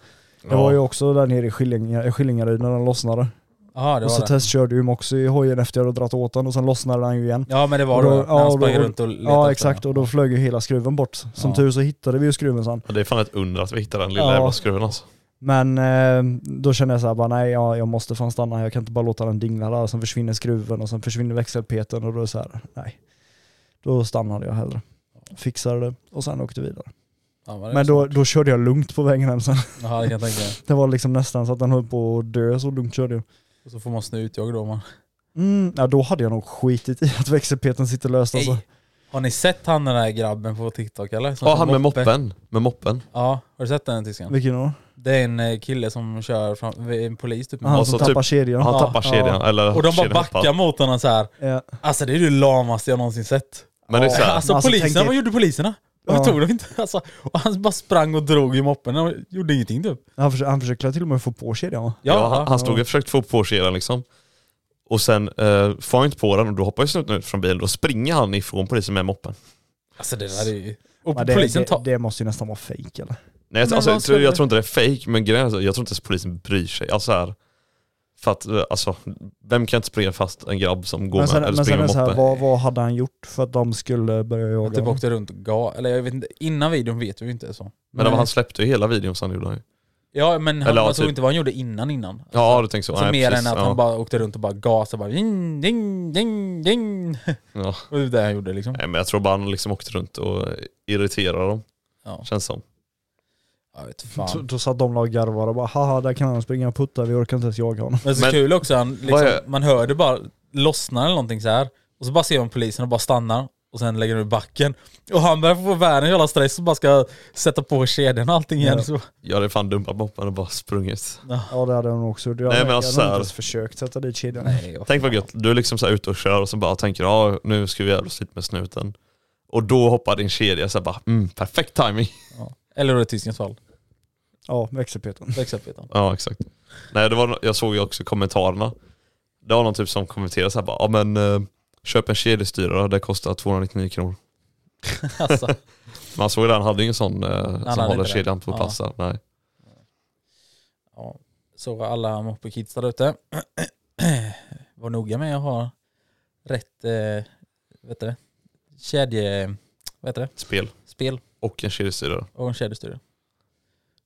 Jag var ju Ja. också där nere i Skillingar- i Skillingaryd när den lossnade. Aha, det Och var så det. testkörde ju Moxie i hojen efter jag hade dratt åt den och sen lossnade den ju igen. Ja men det var Och då, då- när ja, han och då- sprang runt och letade Ja efter exakt, den. och då flög ju hela skruven bort. Som Ja. tur så hittade vi ju skruven sen. Ja, Det är fan ett under att vi hittade den lilla Ja. jävla skruven alltså. Men eh, då kände jag så här, bara, nej ja, jag måste fan stanna, jag kan inte bara låta den dingla där, sen försvinner skruven och sen försvinner växelpeten och då är det så här, nej. Då stannade jag hellre. Fixade det och sen åkte vidare. Ja, var det Men så? då, då körde jag lugnt på vägen hem sen. Ja det kan jag tänka mig. Det var liksom nästan så att den höll på att dö, så lugnt körde jag. Och så får man snutjag då man. Mm, ja, då hade jag nog skitit i att växelpeten sitter löst alltså. Hej. Har ni sett han den där grabben på TikTok eller? Som Ja, kör han med moppe? moppen. Med moppen. Ja, har du sett den tyskan? Vilken då? Det är en eh, kille som kör fram, en polis typ. med Han Och moppe. som så typ- tappar kedjan. Han Ja, tappar ja. kedjan, eller Och de bara kedjan backar hoppar. mot honom så här. Ja. Alltså det är det lamaste jag någonsin sett. Men det är så här, Alltså, Alltså, tänk poliserna, dig- vad gjorde poliserna? Varför Ja. tog de inte? Alltså, och han bara sprang och drog i moppen och gjorde ingenting typ. Han, försökte, han försökte till och med få på kedjan va? ja, han, han stod ja. och försökte få på kedjan liksom. Och sen eh, får han inte på den och då hoppar ju snuten ut från bilen. Då springer han ifrån polisen med moppen. Alltså det där är ju... Och Men det, polisen det, tar... det måste ju nästan vara fejk eller? Nej, alltså, Men vad jag, ska tror, jag du- tror inte det är fake men grejen är så, jag tror inte ens polisen bryr sig. Alltså så här, För att eh, alltså, vem kan inte springa fast en grabb som går Men med sen, eller men sen springer är det med så här, moppe? vad, vad hade han gjort för att de skulle börja jaga Att typ honom? åkte runt och ga, eller jag vet inte, innan videon vet vi ju inte så. Men Nej. han släppte ju hela videon sen gjorde han Alltså, ju. Ja men han, Eller, ja, jag tror typ. inte vad han gjorde innan innan. Ja du tänker så. Alltså, Nej, mer precis. än att ja. han bara åkte runt och bara gasade bara ding, ding, ding, ding. Ja. Och det var det han gjorde liksom. Nej men jag tror bara han liksom åkte runt och irriterade dem, Ja, känns som. jag vet Då- fan. Då satt de där och garvade och bara haha där kan han springa och putta, vi orkar inte ens jaga honom. Men så Men- kul också, han, liksom, Vad är- man hör det bara lossna eller någonting så här. Och så bara ser man polisen och bara stannar. Och sen lägger de i backen. Och han börjar få världens jävla stress och bara ska sätta på kedjan och allting igen. Ja. Så, Jag hade fan dumpat moppen och bara sprungit. Ja det hade han också gjort. Jag, Nej, men jag alltså så hade här- inte ens försökt sätta dit kedjan. nej, jag- Tänk vad gött, du är liksom så här ute och kör och så bara tänker ja nu ska vi jävlas lite med snuten. Och då hoppar din kedja så här bara mm, perfekt timing. ja. Eller då är det Tysklands fall. Ja, växelpeten. till exempel. Ja exakt. Nej det var, no- jag såg ju också kommentarerna. Det var någon typ som kommenterade så här bara, ja men eh, köp en kedjestyrare, det kostar 299 kronor. Alltså, Man såg ju det, han hade ju ingen sån eh, som hade håller inte det. kedjan på Ja. och passar. Nej. ja. Så alla moppekids där ute. Var noga med att ha rätt eh, vet du, det, kedje, vad heter det? Spel Spel och en kedjestyrare. och en kedjestyre.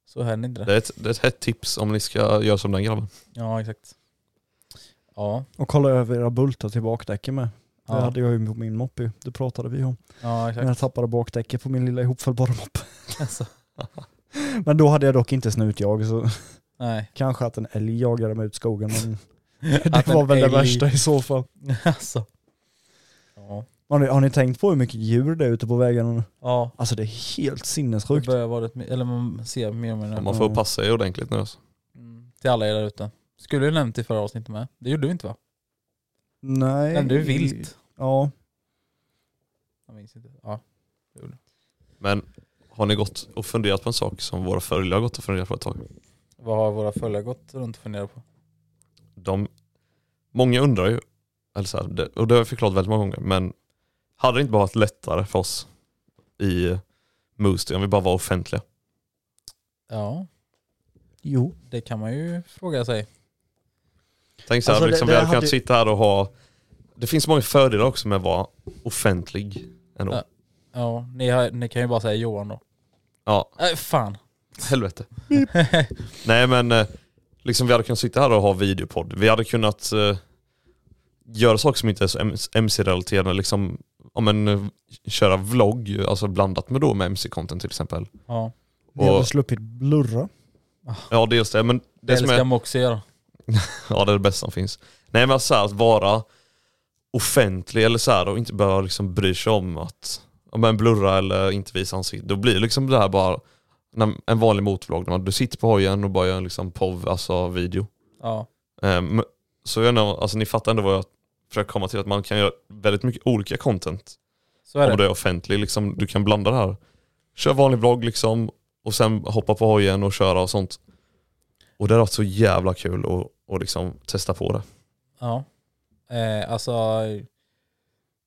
Så hör ni inte Det det. är, ett, det är ett hett tips om ni ska göra som den grabben. Ja, exakt. Ja, Och kolla över era bultar till bakdäcken med. Det ja, hade jag ju på min moppe, det pratade vi om. ja Men jag exakt. tappade bakdäcket på min lilla ihopfällbara moppe. Alltså, Men då hade jag dock inte snutjag så nej. kanske att en älg jagade mig ut skogen men Att det en var väl älg- det värsta i så fall. Alltså. Ja, Har ni, har ni tänkt på hur mycket djur det är ute på vägarna nu? ja. Alltså det är helt Det sinnessjukt. börjar vara ett, eller man ser mer och mer Ja, nu. Man får passa sig ordentligt nu. Alltså. Mm, Till alla er där ute. Skulle du nämnt i förra avsnittet med? Det gjorde vi inte va? Nej. Nämnde du vilt? Ja. Jag minns inte. Ja. Men har ni gått och funderat på en sak som våra följare har gått och funderat på ett tag? Vad har våra följare gått runt och funderat på? De, många undrar ju, eller så här, det, och det har jag förklarat väldigt många gånger, men hade det inte bara varit lättare för oss i Moosty om vi bara var offentliga? Ja, Jo. det kan man ju fråga sig. Tänk så här, Alltså, det- liksom, det vi hade hade kunnat ju- sitta här och ha, det finns många fördelar också med att vara offentlig ändå. Ja. Ja, ni, har, ni kan ju bara säga Johan då. Ja, Nej, fan. helvete. Nej men eh, liksom vi hade kunnat sitta här och ha videopodd. Vi hade kunnat eh, göra saker som inte är så M- MC-relaterade. Liksom, om en, eh, köra vlogg, alltså blandat med då med MC-content till exempel. ja, Vi hade Och- sluppit blurra. Ja dels det, men det det som ska är, man också göra. ja, det är det bästa som finns. Nej men så här, att vara offentlig eller så här och inte behöva liksom bry sig om att ja, men blurra eller inte visa ansiktet. Då blir det liksom det här bara när, en vanlig motvlogg när man, du sitter på hojen och bara gör en liksom POV, alltså video. Ja, Ehm, så jag know, alltså ni fattar ändå vad jag försöker komma till, att man kan göra väldigt mycket olika content så är om det. du är offentlig. Liksom, du kan blanda det här. Kör vanlig vlogg liksom och sen hoppa på hojen och köra och sånt. Och det har varit så jävla kul att och liksom testa på det. Ja. Eh, alltså,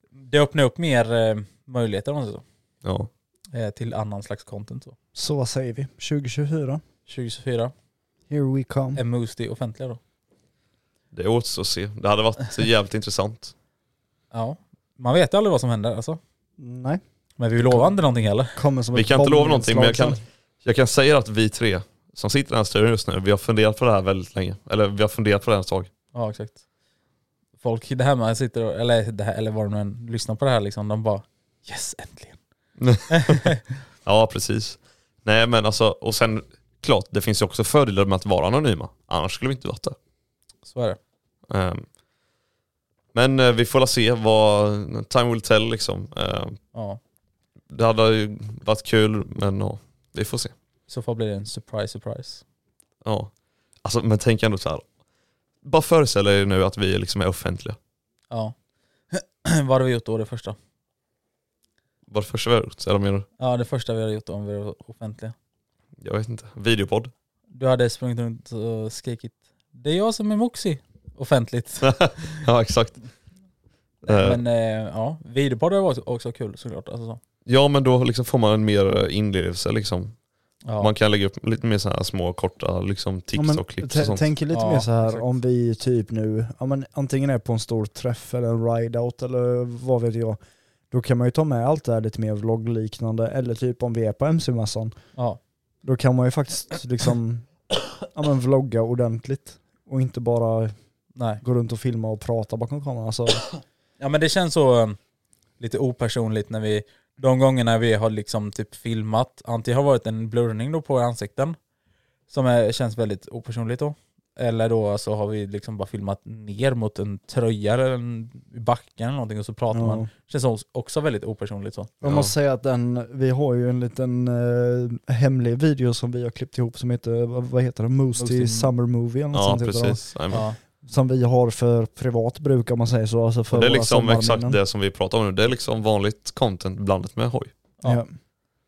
det öppnar upp mer eh, möjligheter om man säger Ja. så. Eh, till annan slags content. Så. Så vad säger vi? 2024? 2024, Here we come. är Moosty offentliga då? Det återstår att se. Det hade varit så jävligt intressant. Ja, man vet ju aldrig vad som händer alltså. Nej. Men vi lovar inte någonting heller. Kommer som Vi ett kan inte lova någonting, men jag bombnedslag Jag kan säga att vi tre som sitter i den här studion just nu, vi har funderat på det här väldigt länge. Eller vi har funderat på det här ett tag. Ja exakt. Folk det här med sitter och, eller, det här, eller vad de nu än lyssnar på det här liksom, de bara yes äntligen. Ja, precis. Nej men alltså, och sen klart, det finns ju också fördelar med att vara anonyma. Annars skulle vi inte varit där. Så är det. Ehm, Men eh, vi får la se vad, time will tell liksom. Ehm, Ja. Det hade ju varit kul men ja, vi får se. I så fall blir det en surprise surprise. Ja. Alltså, men tänk ändå så här. Bara föreställ er nu att vi liksom är offentliga. Ja. vad hade vi gjort då det första? Bara det första vi har gjort, eller menar du? Ja det första vi hade gjort då om vi var offentliga. Jag vet inte. Videopodd. Du hade sprungit runt och skrikit det är jag som är Moxie offentligt. ja exakt. Eh, Men eh, ja, videopodd har varit också kul såklart. Alltså, så. Ja men då liksom får man en mer eh, inlevelse liksom. Ja. Man kan lägga upp lite mer så här små korta liksom, tips Ja, men och klipp tä- och sånt. Tänk lite Ja, mer så här exakt. om vi typ nu, ja, men antingen är på en stor träff eller en ride-out eller vad vet jag. Då kan man ju ta med allt det här lite mer vloggliknande eller typ om vi är på MC-mässan. Ja. Då kan man ju faktiskt liksom ja, men vlogga ordentligt och inte bara Nej. gå runt och filma och prata bakom kameran. Alltså, Ja men det känns så um, lite opersonligt när vi, de gångerna vi har liksom typ filmat, antingen har varit en blurrning då på ansikten, som är, känns väldigt opersonligt då. Eller då så har vi liksom bara filmat ner mot en tröja eller en i backen eller någonting och så pratar ja. man. Känns också- också väldigt opersonligt så. Jag Ja. måste säga att den, vi har ju en liten eh, hemlig video som vi har klippt ihop som heter, vad- vad heter det, Moose Moostie- till Summer Movie eller något ja sånt heter det. precis. Nej, men- Ja. som vi har för privat bruk om man säger så. Alltså för det är våra liksom exakt sommarminnen. det som vi pratar om nu. Det är liksom vanligt content blandat med hoj. Ja. Ja.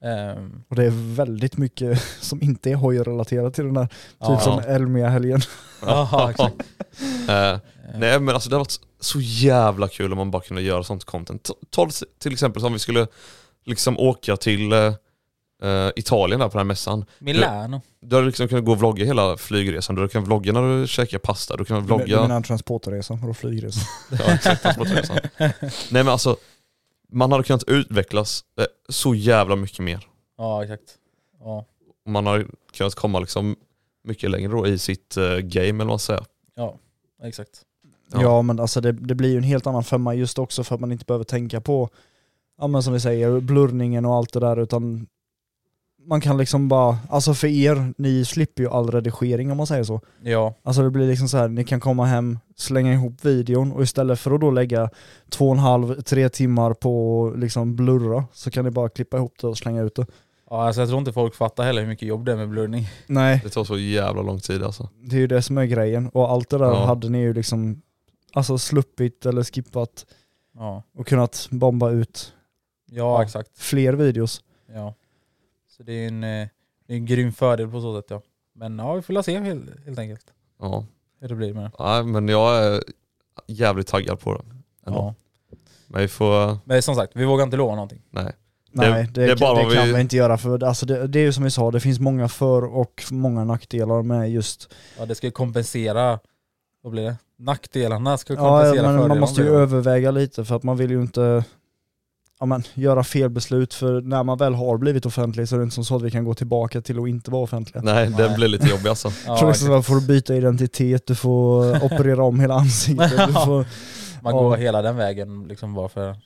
Ehm, Och det är väldigt mycket som inte är hojrelaterat till den här. ja. Typ som Elmia-helgen. Ja, exakt. Mm. Eh, nej men alltså det har varit så jävla kul om man bara kunde göra sånt content. Ta- Ta till exempel som vi skulle liksom åka till eh, eh, Italien där på den här mässan. Milano. Du hade liksom kunnat gå och vlogga hela flygresan. Du kan vlogga när du käkar pasta, du kan Du menar vlogga... en transportresa och flygresan. Ja, exakt, transportresan. Nej men alltså, man hade kunnat utvecklas eh, så jävla mycket mer. Ja, exakt. Ja. Och Man hade kunnat komma liksom mycket längre då i sitt eh, game eller vad man säger. ja, exakt. Ja. Ja, men alltså det, det blir ju en helt annan femma just också för att man inte behöver tänka på, ja men som vi säger, blurrningen och allt det där utan man kan liksom bara, alltså för er, ni slipper ju all redigering om man säger så. Ja, Alltså det blir liksom så här, ni kan komma hem, slänga ihop videon och istället för att då lägga två och en halv, tre timmar på liksom blurra så kan ni bara klippa ihop det och slänga ut det. ja alltså jag tror inte folk fattar heller hur mycket jobb det är med blurrning. Nej, Det tar så jävla lång tid alltså. det är ju det som är grejen och allt det där Ja. hade ni ju liksom alltså sluppit eller skippat Ja, och kunnat bomba ut ja exakt. fler videos. Ja. Så det är en, eh, det är en grym fördel på så sätt ja. Men ja, vi får la se helt, helt enkelt Ja. hur det blir med det. Nej men jag är jävligt taggad på det. Ändå. Ja. Men vi får, Men som sagt, vi vågar inte lova någonting. nej. Det- Nej, det, det är kan- bara det vad kan vi- vi... inte göra för alltså det, det är ju som vi sa, det finns många för och många nackdelar med just, Ja, det ska ju kompensera, vad blir det? Nackdelarna ska ja, kompensera men man fördelarna, måste ju blir det. överväga lite för att man vill ju inte ja, men, göra fel beslut för när man väl har blivit offentlig så är det inte som så att vi kan gå tillbaka till att inte vara offentliga. Nej, den Nej. blir lite jobbig alltså. Jag tror Mm. ja, liksom exakt. att man får byta identitet, du får operera om hela ansiktet, du får... Man går ja. hela den vägen liksom bara för... Ja.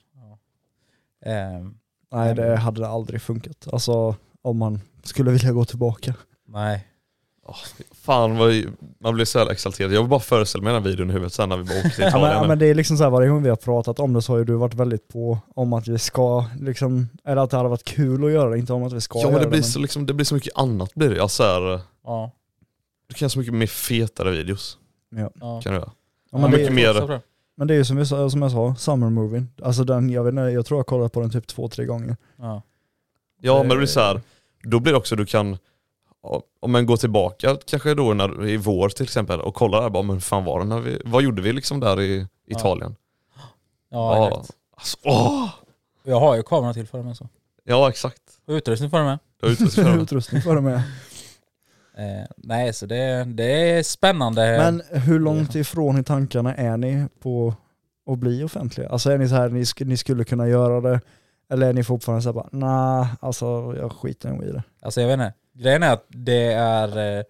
Ehm, Nej det hade aldrig funkat. Alltså om man skulle vilja gå tillbaka. nej. Fan vad, man blir så jävla exalterad. Jag vill bara föreställa mig den här videon i huvudet sen när vi bara åker till Ja, men, Italien. ja, men det är liksom så här, varje gång vi har pratat om det så har ju du varit väldigt på om att vi ska, liksom, eller att det hade varit kul att göra det, inte om att vi ska ja göra men det blir, så, liksom, det blir så mycket annat blir det. Ja, så här, Ja. du kan göra så mycket mer fetare videos. ja. Kan du göra. ja, men, mycket det, mer. Ja, men det är ju som, vi sa- som jag sa, summer movie. Alltså den, jag vet inte, jag tror jag har kollat på den typ två, tre gånger. ja. Ja men det Eh, blir så här, då blir det också du kan, ja, om man går tillbaka kanske då när, i vår till exempel och kollar där bara, men fan var det när vi, vad gjorde vi liksom där i Ja. Italien? ja Ja. exakt. Alltså, åh! Jag har ju kameran till för det med så. Ja exakt. Och utrustning för det med. Jag är ute för det. Utrustning för det med. Eh, nej, så det, det är spännande. Men hur långt ifrån i tankarna är ni på att bli offentliga? Alltså är ni så här, ni, sk- ni skulle kunna göra det, eller är ni fortfarande såhär bara, nah, alltså jag skiter nog i det. Alltså jag vet inte. Grejen är att det är, eh,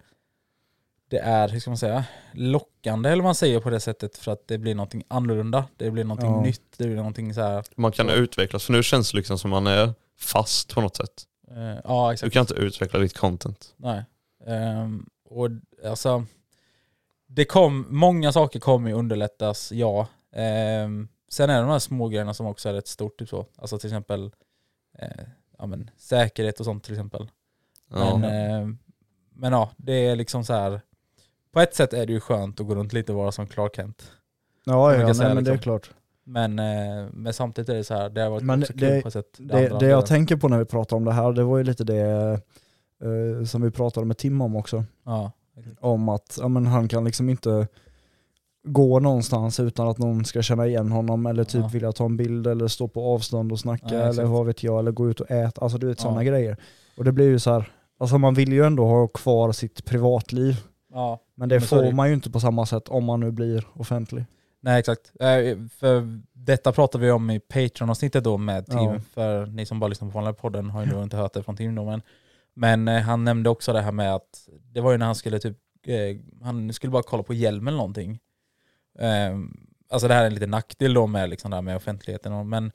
det är, hur ska man säga, lockande eller vad man säger på det sättet för att det blir någonting annorlunda. Det blir någonting Ja. nytt, det blir någonting så här. Man kan Ja. utvecklas, för nu känns det liksom som man är fast på något sätt. eh, ja Du exakt. kan inte utveckla ditt content. Nej. Ehm, och d- alltså, det kom, många saker kommer ju underlättas, ja. Ehm, sen är det de här små grejerna som också är rätt stort, typ så. Alltså till exempel eh, ja, men, säkerhet och sånt till exempel. Ja. Men, eh, men ja, det är liksom så här. På ett sätt är det ju skönt att gå runt lite och vara som Clark Kent. Ja, kan ja, nej, säga men det är liksom. klart. Men, eh, men samtidigt är det så här, det har varit Men också det- kul på ett sätt. Det, det jag tänker på när vi pratar om det här, det var ju lite det eh, som vi pratade med Tim om också. Ja, Om att ja, men han kan liksom inte gå någonstans utan att någon ska känna igen honom eller typ Ja. vilja ta en bild eller stå på avstånd och snacka Ja, eller exakt. vad vet jag eller gå ut och äta, alltså du vet Ja. sådana grejer. Och det blir ju så här, Alltså man vill ju ändå ha kvar sitt privatliv. Ja. Men det Men så är får det ju. man ju inte på samma sätt om man nu blir offentlig. Nej exakt. Eh, För detta pratade vi om i Patreon-avsnittet då med Tim, Ja. för ni som bara lyssnar på vanliga podden har ju nog inte hört det från Tim då men, men eh, han nämnde också det här med att det var ju när han skulle typ, eh, han skulle bara kolla på hjälm eller någonting. Eh, alltså det här är en liten nackdel då med liksom det här med offentligheten och, men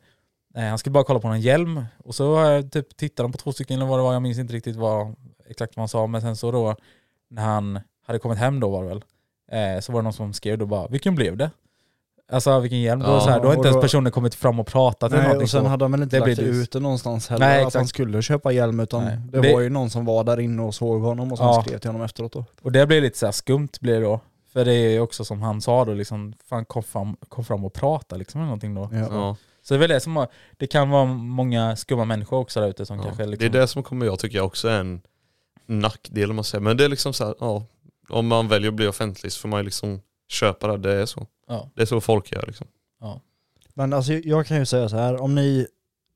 eh, han skulle bara kolla på någon hjälm och så eh, typ tittade han på två stycken eller vad det var, jag minns inte riktigt vad exakt vad han sa men sen så då när han hade kommit hem då var det väl, eh, så var det någon som skrev då bara vilken blev det? Alltså vilken hjälm? då, Ja, så här, då har och inte ens då- personen kommit fram och pratat eller Nej, någonting. och sen så. hade han väl inte Det blir lagt dyrt. ut det någonstans heller Nej, att exakt. han skulle köpa hjälm utan Nej. det, Det- var ju någon som var där inne och såg honom och som Ja. skrev till honom efteråt då. Och det blir lite så här skumt blir det då. För det är ju också som han sa då, liksom, fan kom fram, kom fram och prata liksom eller någonting då. Ja. Ja. Så det är väl det som har, det kan vara många skumma människor också där ute som kanske Ja. Det liksom, är det som kommer jag tycker jag också är en nackdel om man säger. Men det är liksom så här, ja, om man väljer att bli offentlig så får man ju liksom köpa det, det är så. Ja. Det är så folk gör liksom. Men alltså jag kan ju säga så här, om ni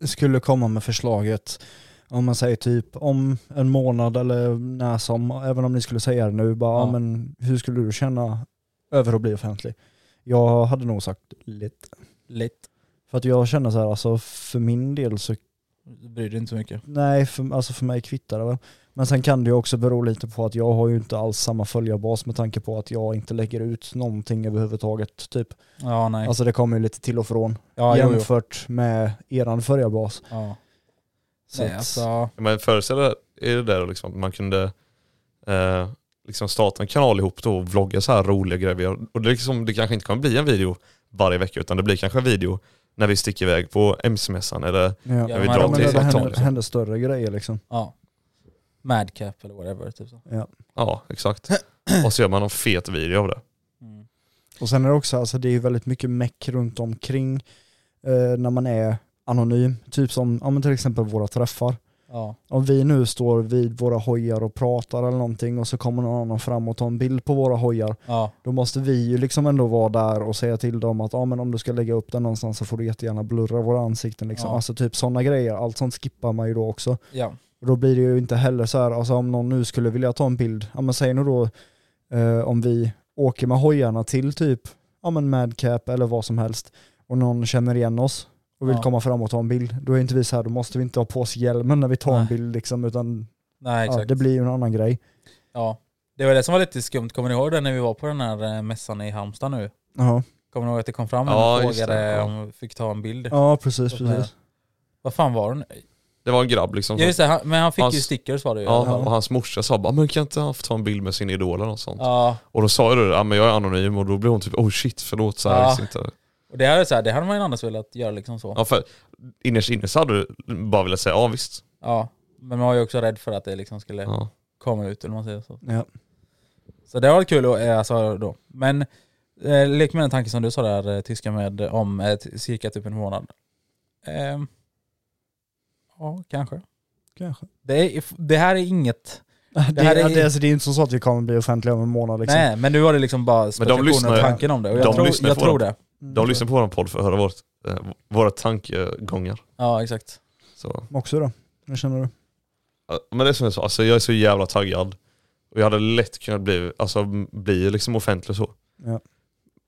skulle komma med förslaget, om man säger typ om en månad eller när som, även om ni skulle säga det nu, bara Ja. ja. men hur skulle du känna över att bli offentlig? Jag hade nog sagt lite. lite, För att jag känner så här, alltså för min del så, du bryr dig inte så mycket. nej, för, alltså för mig kvittar det väl. Men sen kan det ju också bero lite på att jag har ju inte alls samma följarbas med tanke på att jag inte lägger ut någonting överhuvudtaget typ. Ja nej. Alltså det kommer ju lite till och från ja, jo, jo. jämfört med eran följarbas. Ja. Så Nej, att- alltså, Men föreställ dig, är det där liksom, att man kunde eh, liksom starta en kanal ihop då och vlogga så här roliga grejer. vi gör. Och det, är liksom, det kanske inte kommer bli en video varje vecka utan det blir kanske en video när vi sticker iväg på MC-mässan eller Ja. Ja, Ja, vi men drar till det Italien. händer, händer större grejer liksom. ja. Madcap eller whatever typ så. Ja. ja exakt. Och så gör man en fet video av det. Mm. Och sen är det också, alltså det är ju väldigt mycket meck runt omkring eh, när man är anonym. Typ som, ja men till exempel våra träffar. Ja. Om vi nu står vid våra hojar och pratar eller någonting och så kommer någon annan fram och tar en bild på våra hojar, Ja. då måste vi ju liksom ändå vara där och säga till dem att ja men om du ska lägga upp den någonstans så får du jättegärna blurra våra ansikten liksom. Ja. Alltså typ sådana grejer, allt sånt skippar man ju då också. Ja. Och Då blir det ju inte heller så här, alltså om någon nu skulle vilja ta en bild, ja men säg nu då eh, om vi åker med hojarna till typ, ja men Madcap eller vad som helst och någon känner igen oss och vill Ja. komma fram och ta en bild, då är inte vi så här, då måste vi inte ha på oss hjälmen när vi tar Nej. en bild liksom, utan Nej exakt. ja, det blir ju en annan grej. ja. Det var det som var lite skumt, kommer ni ihåg det när vi var på den här eh, mässan i Halmstad nu? Ja, Kommer ni ihåg att det kom fram en Ja, och just det, frågade ja. om vi fick ta en bild? ja precis, Och med- precis. Vad fan var den? Det var en grabb liksom. Ja, som- just det, han, men han fick Hans- ju stickers var det ju. Ja, Ja. och hans morsa sa bara, men kan inte han få ta en bild med sin idol eller något sånt? ja. Och då sa jag det, ja men jag är anonym och då blev hon typ, oh shit förlåt så här, Ja. jag visste inte. Och det, här är så här, det hade man ju annars velat göra liksom så. Ja. Ja för innerst inne så hade du bara velat säga, ja visst. Men man var ju också rädd för att det liksom skulle Ja. komma ut eller vad man säger så. Ja. Så det var kul att, eh, alltså, då. Men eh, lek med den tanken som du sa där, eh, tyska med, eh, om eh, t- cirka typ en månad. Ehm, ja, kanske. Kanske. Det, är, det här är inget... Det, här är- är... Det, alltså, det är inte som så att vi kommer bli offentliga om en månad liksom. Nej, men nu var det liksom bara spekulationer lyssnar och ju- tanken om det. Och jag de tror, lyssnar jag på tror dem. det. Mm. De lyssnar på vår podd för att höra vårt, eh, våra tankegångar. Ja, exakt. Så. Mm. Också då, hur känner du? Ja, Men det är som jag sa, alltså, jag är så jävla taggad. Och jag hade lätt kunnat bli, alltså, bli liksom offentlig så. Ja.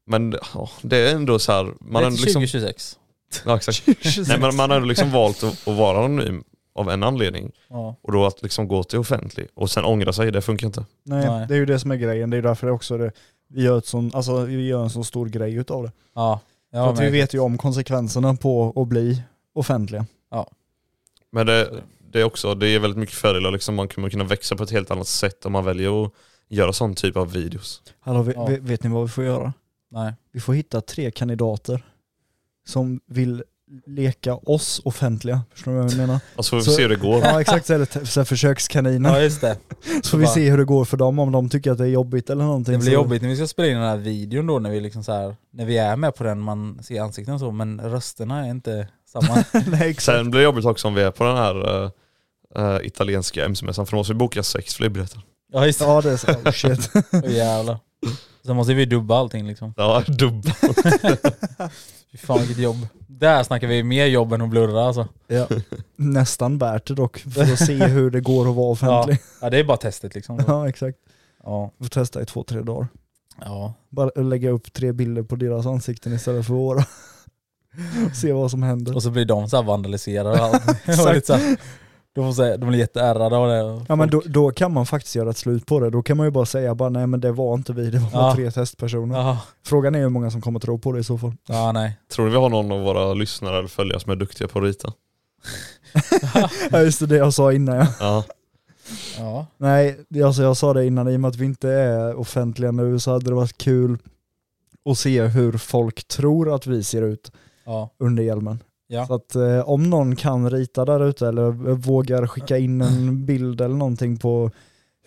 Men ja, det är ändå så här, man det har är ändå liksom, 2026. ja, exakt. Nej, men man har ändå liksom valt att, att vara anonym av en anledning. Ja. Och då att liksom gå till offentlig och sen ångra sig, det funkar inte. Nej, Nej. det är ju det som är grejen, det är därför det också är det, vi gör, ett sån, alltså, vi gör en så stor grej utav det. Ja. För Ja, att men- vi vet ju om konsekvenserna på att bli offentliga. Men det, det är också, det är väldigt mycket fördelar liksom, man kommer kunna växa på ett helt annat sätt om man väljer att göra sån typ av videos. Hallå, vi, Ja. vi- vet ni vad vi får göra? Nej. Vi får hitta tre kandidater som vill leka oss offentliga. Förstår du vad jag menar? Och så får Alltså, vi Så- se hur det går. Ja exakt, så är det t- så här försökskaniner. Ja just det. Så vi ser hur det går för dem, om de tycker att det är jobbigt eller någonting. Det blir så- jobbigt när vi ska spela in den här videon då när vi liksom så här, när vi är med på den man ser ansikten och så men rösterna är inte samma. Nej exakt. Sen blir det jobbigt också om vi är på den här eh, eh, italienska MC-mässan för då måste vi boka sex flygbiljetter. Ja just det. Ja det är så, oh, shit. Åh, jävlar. Sen måste vi dubba allting liksom. Ja, dubb. Fy fan vilket jobb. Där snackar vi mer jobb än att blurra alltså. Ja. Nästan värt det dock, för att se hur det går att vara Ja. offentlig. ja, det är bara testet liksom. Ja, exakt. Ja. Får testa i två, tre dagar. ja. Bara lägga upp tre bilder på deras ansikten istället för våra. se vad som händer. Och så blir de så här vandaliserade och allt. Och lite så här, de, får säga, de blir jätteärrade av det. Ja men då, då kan man faktiskt göra ett slut på det. Då kan man ju bara säga bara nej men det var inte vi, det var bara Ja. tre testpersoner. Ja, Frågan är hur många som kommer tro på det i så fall. ja nej. Tror ni vi har någon av våra lyssnare eller följare som är duktiga på att rita? Ja just det, det jag sa innan ja. Ja. Ja. Nej, det- alltså jag sa det innan, i och med att vi inte är offentliga nu så hade det varit kul att se hur folk tror att vi ser ut Ja. under hjälmen. Ja. Så att eh, om någon kan rita där ute eller vågar skicka in en bild eller någonting på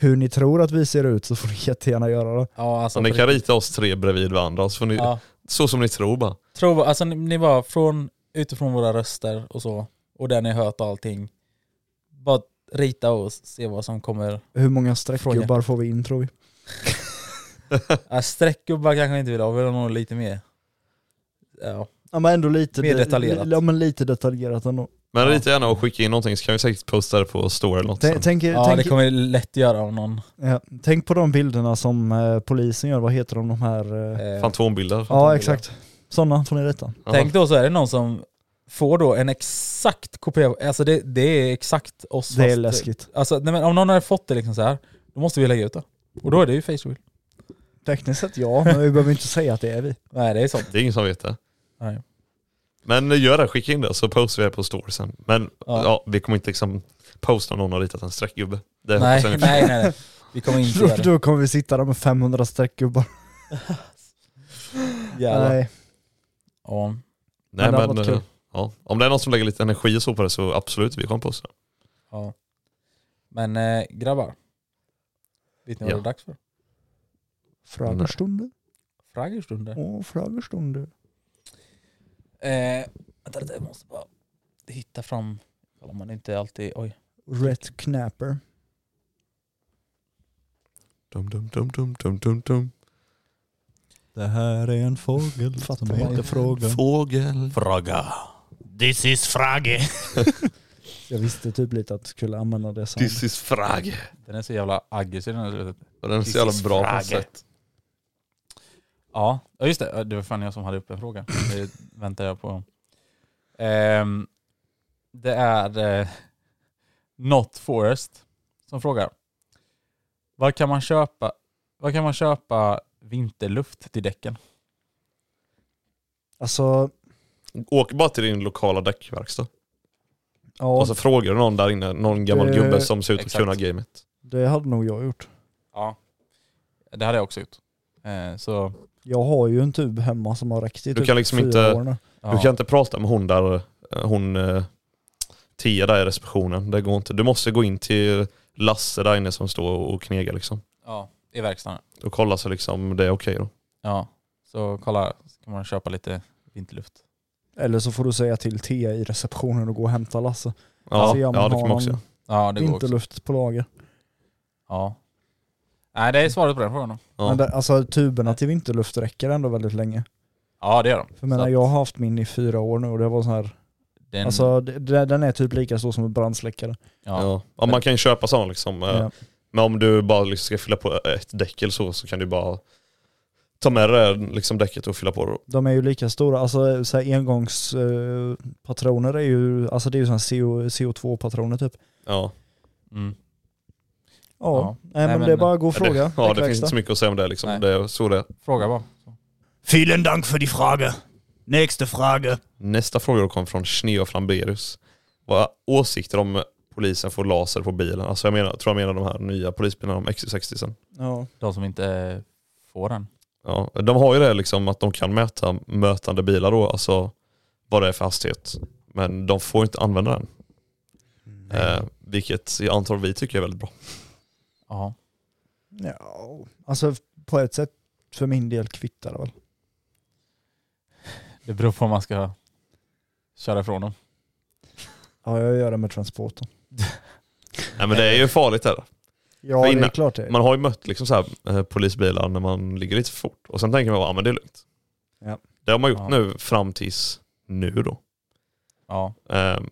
hur ni tror att vi ser ut så får ni jättegärna göra det. ja Så alltså, ni på kan riktigt. rita oss tre bredvid varandra, så, får ni, ja. så som ni tror bara. Tror, alltså ni, ni bara från, utifrån våra röster och så, och där ni hört och allting. Bara rita och se vad som kommer. Hur många streckgubbar får vi in tror vi? Äh, streckgubbar kanske inte vill ha, vi vill ha nog lite mer. Ja. Ja men ändå lite, Mer detaljerat. Ja men lite detaljerat ändå. Men Ja. rita gärna och skicka in någonting så kan vi säkert posta det på story eller något Tänk, sen. tänk, ja, tänk, det kommer lätt göra om någon. ja, tänk på de bilderna som eh, polisen gör, vad heter de, de här? Eh, Eh, Fantombilder. ja exakt, sådana får ni rita. Ja. Tänk då så är det någon som får då en exakt kopia, alltså det, det är exakt oss. Det är fast- läskigt. Alltså nej, men om någon hade fått det liksom så här, då måste vi lägga ut det. Och då är det ju Facebook. Tekniskt sett ja, men vi behöver inte säga att det är vi. Nej det är sånt. Det är ingen som vet det. Nej. Men eh, gör det, skicka in det så postar vi det på story sen. Men Ja. ja. vi kommer inte liksom posta om någon har ritat en streckgubbe. Det Nej, hoppas jag nej, ni förstår. nej, nej. Vi kommer inte göra Då, det. då kommer vi sitta där med 500 streckgubbar. Jävlar. Nej. Ja. Nej, Men det hade men, varit eh, kul. ja. Om det är någon som lägger lite energi och så på det så absolut, vi kommer posta det. ja. Men eh, grabbar, vet ni vad Ja. det är dags för? Frågestunder. Fraggestunder. Åh, frågestunder. Eh, vänta lite, jag måste bara hitta fram, om man inte alltid, oj. Rätt knapper. Dum, dum, dum, dum, dum, dum, dum. Det här är en fågel Fattar som heter fråga. Fågel. Fråga. This is Frage. Jag visste typ lite att du skulle använda det som... This is frag. Den är så jävla aggressiv den här slutet. Och den är This så jävla is bra på något frag. sätt. Ja, ja, just det. Det var fan jag som hade upp en fråga. Det väntar jag på. Ehm, det är eh, Not Forest som frågar. Var kan man köpa, var kan man köpa vinterluft till däcken? Alltså, Åk bara till din lokala däckverkstad. ja, Och så frågar du någon där inne, någon gammal Det- gubbe som ser ut att Exakt. kunna gamet. det hade nog jag gjort. Ja, det hade jag också gjort. Eh, så, Jag har ju en tub hemma som har räckt i Du typ kan liksom fyra inte- år nu. ja. Du kan inte prata med hon där, eh, hon eh, Tia där i receptionen. Det går inte. Du måste gå in till Lasse där inne som står och knegar liksom. ja, i verkstaden. Och kolla så liksom det är okej då. Ja, så kolla, så kan man köpa lite vinterluft. Eller så får du säga till T i receptionen och gå och hämta Lasse. Ja, Se om ja det han kan har man också någon göra. Ja, det går också. Vinterluft på lager. Ja. Nej, det är svaret på den frågan. då. Ja. Men det, alltså tuberna till vinterluft räcker ändå väldigt länge. Ja, det gör de. För jag menar, Så att jag har haft min i fyra år nu och det var sån här, den- alltså det- det- den är typ lika stor som en brandsläckare. ja. Ja. Ja, man kan ju köpa sådana liksom. eh, Ja. Men om du bara liksom ska fylla på ett däck eller så, så kan du bara ta med det där, liksom däcket och fylla på det. De är ju lika stora, alltså så här engångspatroner är ju, alltså det är ju sån här CO, CO2-patroner typ. Ja. Mm. Ja, Ja. Nej, men, Nej, men- det är bara att gå och Ja, det- fråga. Ja, det däckverkstad. finns inte så mycket att säga om det liksom. Nej. Det är så det är. Fråga bara. Vielen Dank für die Frage. Nächste Frage. Nästa fråga då kom från Schneo Flamberus. Vad åsikter om polisen får laser på bilen? Alltså jag menar, tror jag menar de här nya polisbilarna, de XC60 sen. ja. De som inte eh, får den. Ja, de har ju det liksom att de kan mäta mötande bilar då, alltså vad det är för hastighet. Men de får inte använda den. Eh, vilket jag antar vi tycker är väldigt bra. Ja. ja, alltså på ett sätt för min del kvittar det väl. Det beror på om man ska köra ifrån dem. Ja, jag gör det med transporten. Nej men det är ju farligt där. Ja, För det är innan- klart Typ. det. Man har ju mött liksom så här, eh, polisbilar när man ligger lite för fort och sen tänker man bara, ah, men det är lugnt. Ja. Det har man gjort Ja. nu fram tills nu då. Ja. Ehm,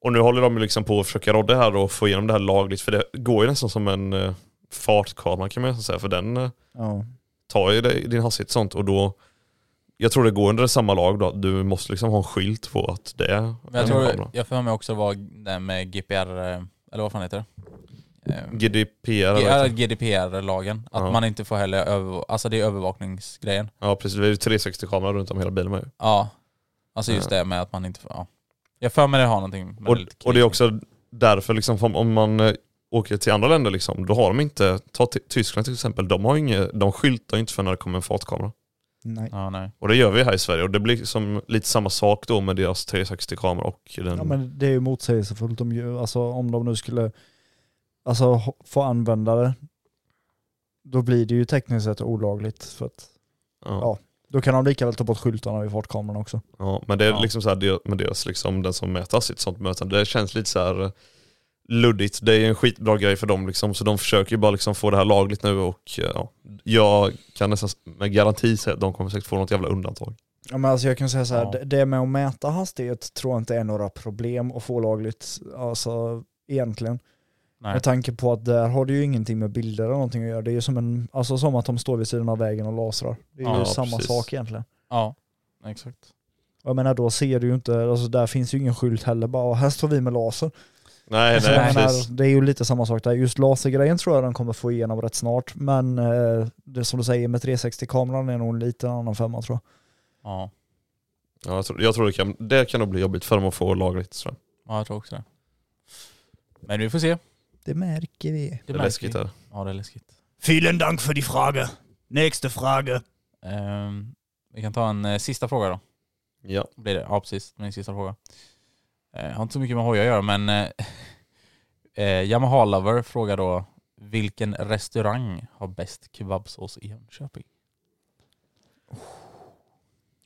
och nu håller de ju liksom på att försöka rodda här och få igenom det här lagligt för det går ju nästan som en uh, fartkamera kan man nästan säga för den eh, Ja. tar ju dig- din hastighet och sånt och då jag tror det går under samma lag då, att du måste liksom ha en skylt på att det är Men jag en tror, kamera. jag för mig också var den med GPR, eh, eller vad fan heter det? Eh, GDPR eller vad G- heter eller det? GDPR-lagen. Att Ja. man inte får heller över, alltså det är övervakningsgrejen. Ja precis, det är ju 360-kamera runt om hela bilen med ju. Ja. Alltså just Ja. det med att man inte får, ja. Jag för mig det har någonting med Och, lite och det är krig. också därför liksom, om- om man eh, åker till andra länder liksom, då har de inte, ta Ty- Tyskland till exempel, de, har inget, de skyltar ju inte för när det kommer en fartkamera. Nej. Ja, nej. Och det gör vi här i Sverige och det blir som lite samma sak då med deras 360-kamera och den... Ja, men det är ju motsägelsefullt om, ju- alltså, om de nu skulle alltså, ho- få använda det. Då blir det ju tekniskt sett olagligt för att ja. ja. då kan de lika väl ta bort skyltarna vid fartkameran också. Ja, men det är Ja. liksom så här, det- med deras liksom, den som mäter sitt sånt möte, det känns lite så här eh, luddigt. Det är ju en skitbra grej för dem liksom, så de försöker ju bara liksom få det här lagligt nu och eh, ja, jag kan nästan med garanti säga att de kommer säkert få något jävla undantag. Ja, men alltså jag kan säga så här, Ja. det, det med att mäta hastighet tror jag inte är några problem att få lagligt, alltså egentligen. nej. Med tanke på att där har det ju ingenting med bilder eller någonting att göra. Det är ju som, en, alltså som att de står vid sidan av vägen och lasrar. Det är Ja, ju samma precis. sak egentligen. Ja, exakt. Och Jag menar då ser du ju inte, alltså där finns ju ingen skylt heller bara, "Åh, här står vi med laser. Nej, Alltså, nej jag menar, precis. det är ju lite samma sak där. Just lasergrejen tror jag de kommer få igenom rätt snart, men eh, det som du säger med 360-kameran är nog en liten annan femma tror jag. Ja. Ja, jag, tror, jag tror det kan, det kan nog bli jobbigt för dem att få lagligt. tror jag. ja, jag tror också det. Men vi får se. Det märker vi. Det är läskigt där. Ja, det är läskigt. Vielen Dank für die Frage. Nächste Frage. Ehm, vi kan ta en eh, sista fråga då. Ja. blir det. Ja, precis. Min sista fråga. Eh, har inte så mycket med hojar att göra, men eh, eh, Yamaha Lover frågar då vilken restaurang har bäst kebabsås i Jönköping?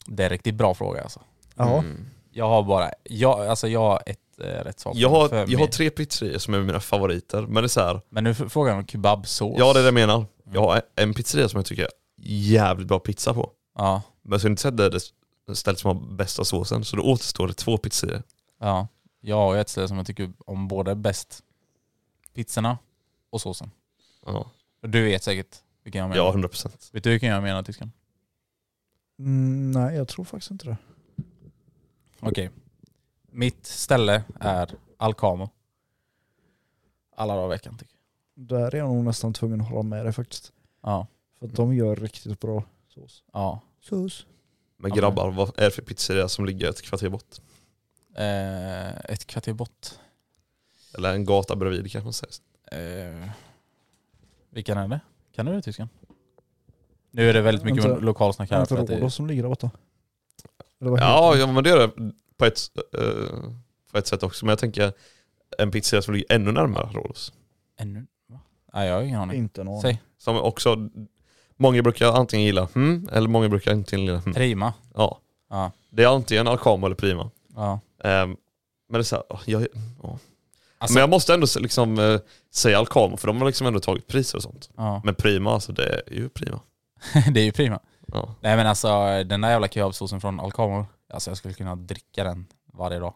Det är en riktigt bra fråga alltså. Ja. Mm. Jag har bara, jag, alltså jag har ett eh, rätt svar. på Jag, det har, för jag mig. har tre pizzerior som är mina favoriter, men det är så här, Men nu f- frågar han om kebabsås. ja det är det jag menar. Jag har en pizzeria som jag tycker är jävligt bra pizza på. Ja, Men så är det inte så att det är det stället som har bästa såsen, så då återstår det två pizzerior. ja. Jag har ju ett ställe som jag tycker om både bäst pizzorna och såsen. Ja, Och Du vet säkert vilken jag menar. ja 100%. Vet du vilken jag menar tysken? Mm, nej, jag tror faktiskt inte det. Mm. Okej. Mitt ställe är Alcamo. Alla dagar i veckan tycker Där är jag nog nästan tvungen att hålla med dig faktiskt. jag. Ja. För att de gör riktigt bra sås. ja. Sås. Men Ja. grabbar, vad är det för pizzeria som ligger ett kvarter bort? Eh, ett kvarter bort. Eller en gata bredvid kanske man säger. Eh, vilken är det? Kan du det tysken? Nu är det väldigt mycket Inte- lokalsnack Kan här. inte För att det, Rhodos som ligger där borta? Eller vad heter Ja, det? ja men det är det på ett, eh, på ett sätt också. Men jag tänker en pizzeria som ligger ännu närmare Rhodos. ännu, va? Nej, jag har ingen aning. Inte någon. Säg. Som också, många brukar antingen gilla hmm, eller många brukar inte gilla hmm. Prima. Ja. Ja. Det är antingen Alcamo eller Prima. Ja. Ehm, men det är så här, åh, jag, åh. Alltså- Men jag måste ändå se- liksom, eh, säga Alcamo för de har liksom ändå tagit priser och sånt. ja. Men Prima alltså, det är ju Prima. det är ju prima. Ja. Nej men alltså den där jävla kebabsåsen från Alcamo. Alltså jag skulle kunna dricka den varje dag.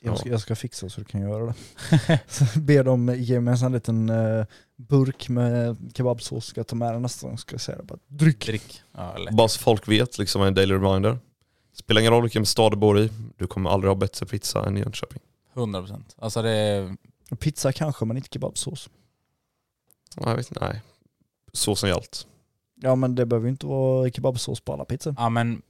Jag ska, jag ska fixa så du kan göra det. Så Be dem ge mig en sån liten eh, burk med kebabsås, ska jag ta med den nästa gång. Ska jag säga det bara. Dryck! Drick. Ja, lätt. Bara så folk vet, liksom en daily reminder. Spelar ingen roll vilken stad du bor i, du kommer aldrig ha bättre pizza än i Jönköping. 100%. Alltså det är Pizza kanske, men inte kebabsås. Nej, jag vet inte, nej. Såsen i allt. Ja men det behöver ju inte vara kebabsås på alla pizzor. Ja men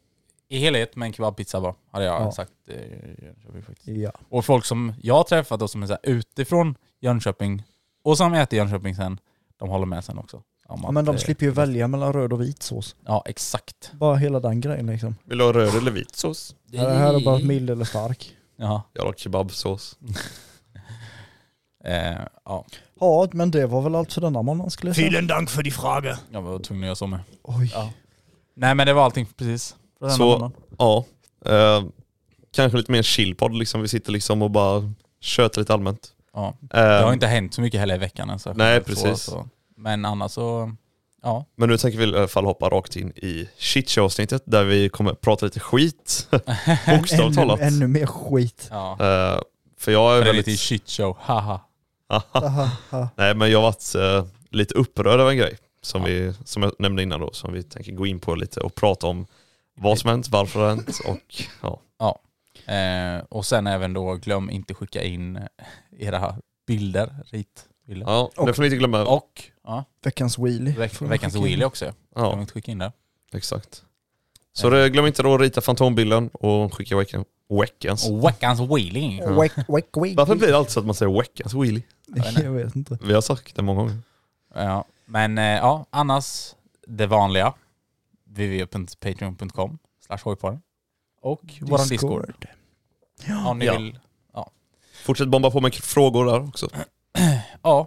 i helhet med en kebabpizza bara, hade jag Ja. sagt. eh, Jönköping faktiskt. Ja. Och folk som jag har träffat och som är så här utifrån Jönköping och som äter Jönköping sen, de håller med sen också. om ja att, men de eh, slipper ju välja mellan röd och vit sås. Ja exakt. Bara hela den grejen liksom. Vill du ha röd eller vit sås? Det här är bara mild eller stark. Ja. Jag har kebabsås. Eh, ja. Ja men det var väl allt för denna månaden skulle jag säga. Vielen Dank für die Frage. Jag var tvungen att göra så med. Oj. Ja. Nej men det var allting precis. För denna Så- månaden. Ja. Eh, kanske lite mer chillpodd liksom, vi sitter liksom och bara tjötar lite allmänt. Ja. Eh, Det har inte hänt så mycket heller i veckan. än Så Nej, så, precis. så. Men annars så, ja. Men nu tänker vi i alla fall hoppa rakt in i shitshow-avsnittet där vi kommer prata lite skit. Bokstavligt talat. Ännu, ännu mer skit. ja. Eh, för jag är Det är lite väldigt... shitshow, haha. Aha, aha. Nej men jag har varit eh, lite upprörd över en grej som, vi, som jag nämnde innan då, som vi tänker gå in på lite och prata om vad som hänt, varför det har hänt och ja. Eh, och sen även då, glöm inte skicka in eh, era bilder, ritbilder. ja det får ni inte glömma. Och ja, Veckans wheelie. veck, Får man veckans skicka in. wheelie också. Glöm Ja, inte skicka in det. exakt. Så det, glöm inte då att rita fantombilden och skicka veckan, veckans. Och veckans wheelie. Wack, wack, wack. Varför blir det alltid så att man säger veckans wheelie? Jag vet inte. Vi har sagt det många gånger. Ja. Men eh, ja, annars det vanliga. www.patreon.com slash hojpodden. Och våran Discord. Om ni Ja. vill. Fortsätt bomba på med frågor där också. Ja.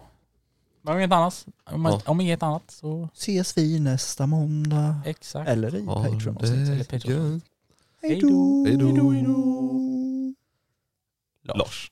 Men om inget annat, om, Ja. om inget annat så Ses vi nästa måndag. exakt. Eller i Ja, Patreon. det är eller Patreon. gött. Hej då! Hej då. Lars. Lars.